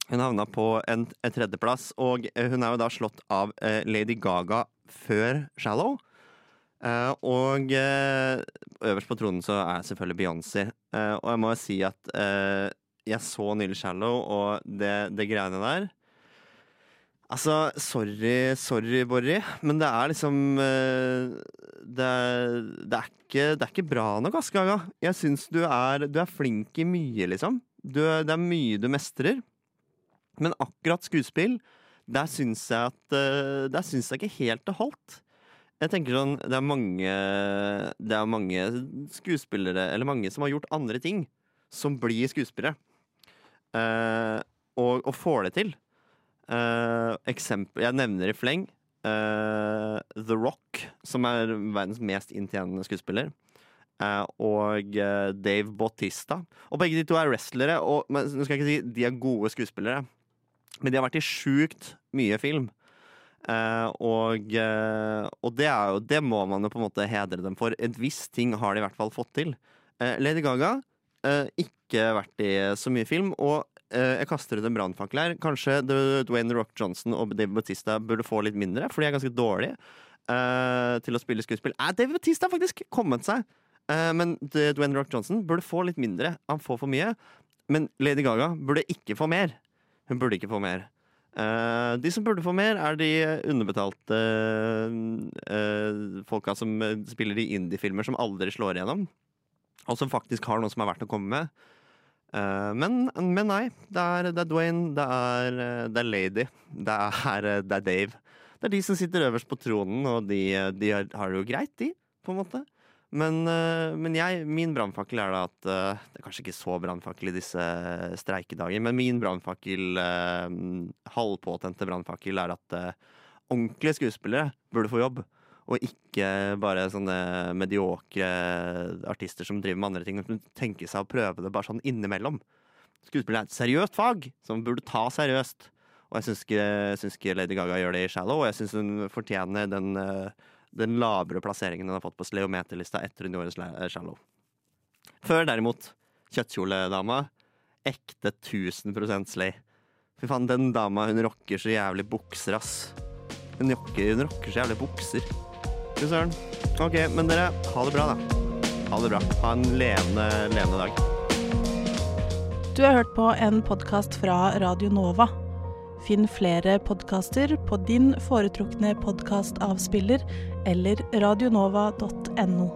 Speaker 5: Hun havna på en, en tredjeplass, og eh, hun er jo da slått av eh, Lady Gaga før Shallow. Eh, og eh, øverst på tronen så er selvfølgelig Beyoncé. Eh, og jeg må jo si at eh, jeg så nylig Shallow, og det, det greiene der Altså, sorry, sorry, Borry, men det er liksom eh, det, er, det, er ikke, det er ikke bra nok, ass, Gaga. Jeg syns du er, du er flink i mye, liksom. Du, det er mye du mestrer. Men akkurat skuespill, der syns jeg at eh, Der syns jeg ikke helt det holdt. Jeg tenker sånn, det er mange Det er mange skuespillere, eller mange som har gjort andre ting, som blir skuespillere. Eh, og, og får det til. Eh, eksempel, jeg nevner i fleng eh, The Rock, som er verdens mest inntjenende skuespiller. eh, og eh, Dave Bautista. Og begge de to er wrestlere, og, men nå skal jeg ikke si de er gode skuespillere. Men de har vært i sjukt mye film. Eh, og eh, og det, er jo, det må man jo på en måte hedre dem for. Et visst ting har de i hvert fall fått til. Eh, Lady Gaga eh, ikke vært i så mye film. Og eh, jeg kaster ut en brannfakkel her. Kanskje The- Dwayne The Rock Johnson og David Bautista burde få litt mindre, for de er ganske dårlige eh, til å spille skuespill. Eh, David Bautista har faktisk kommet seg, Eh, men The- Dwayne The Rock Johnson burde få litt mindre. Han får for mye. Men Lady Gaga burde ikke få mer. Hun burde ikke få mer. Eh, de som burde få mer, er de underbetalte eh, eh, folka som eh, spiller i indiefilmer som aldri slår igjennom, og som faktisk har noe som er verdt å komme med. Eh, men, men nei. Det er, det er Dwayne, det er, eh, det er Lady, det er, eh, det er Dave. Det er de som sitter øverst på tronen, og de, eh, de har har det jo greit, de, på en måte. Men, eh, men jeg, min brannfakkel er da at eh, Det er kanskje ikke så brannfakkel i disse eh, streikedager, men min brannfakkel, eh, halvpåtente brannfakkel, er at eh, ordentlige skuespillere burde få jobb. Og ikke bare sånne mediokre artister som driver med andre ting. Som tenker seg å prøve det bare sånn innimellom. Skuespill er et seriøst fag som burde ta seriøst. Og jeg syns ikke, jeg syns ikke Lady Gaga gjør det i Shallow, og jeg syns hun fortjener den, eh, den lavere plasseringen hun har fått på sleometerlista etter hun gjorde Sla- eh, Shallow. Før derimot, kjøttkjoledama, ekte 1000 slay. Fy faen, den dama, hun rocker så jævlig bukser, ass. Hun rocker, hun rocker så jævlig bukser. Fy søren. Ok, men dere, ha det bra, da. Ha det bra. Ha en levende, levende dag.
Speaker 16: Du har hørt på en podkast fra Radio Nova. Finn flere podkaster på din foretrukne podkastavspiller eller radionova.no.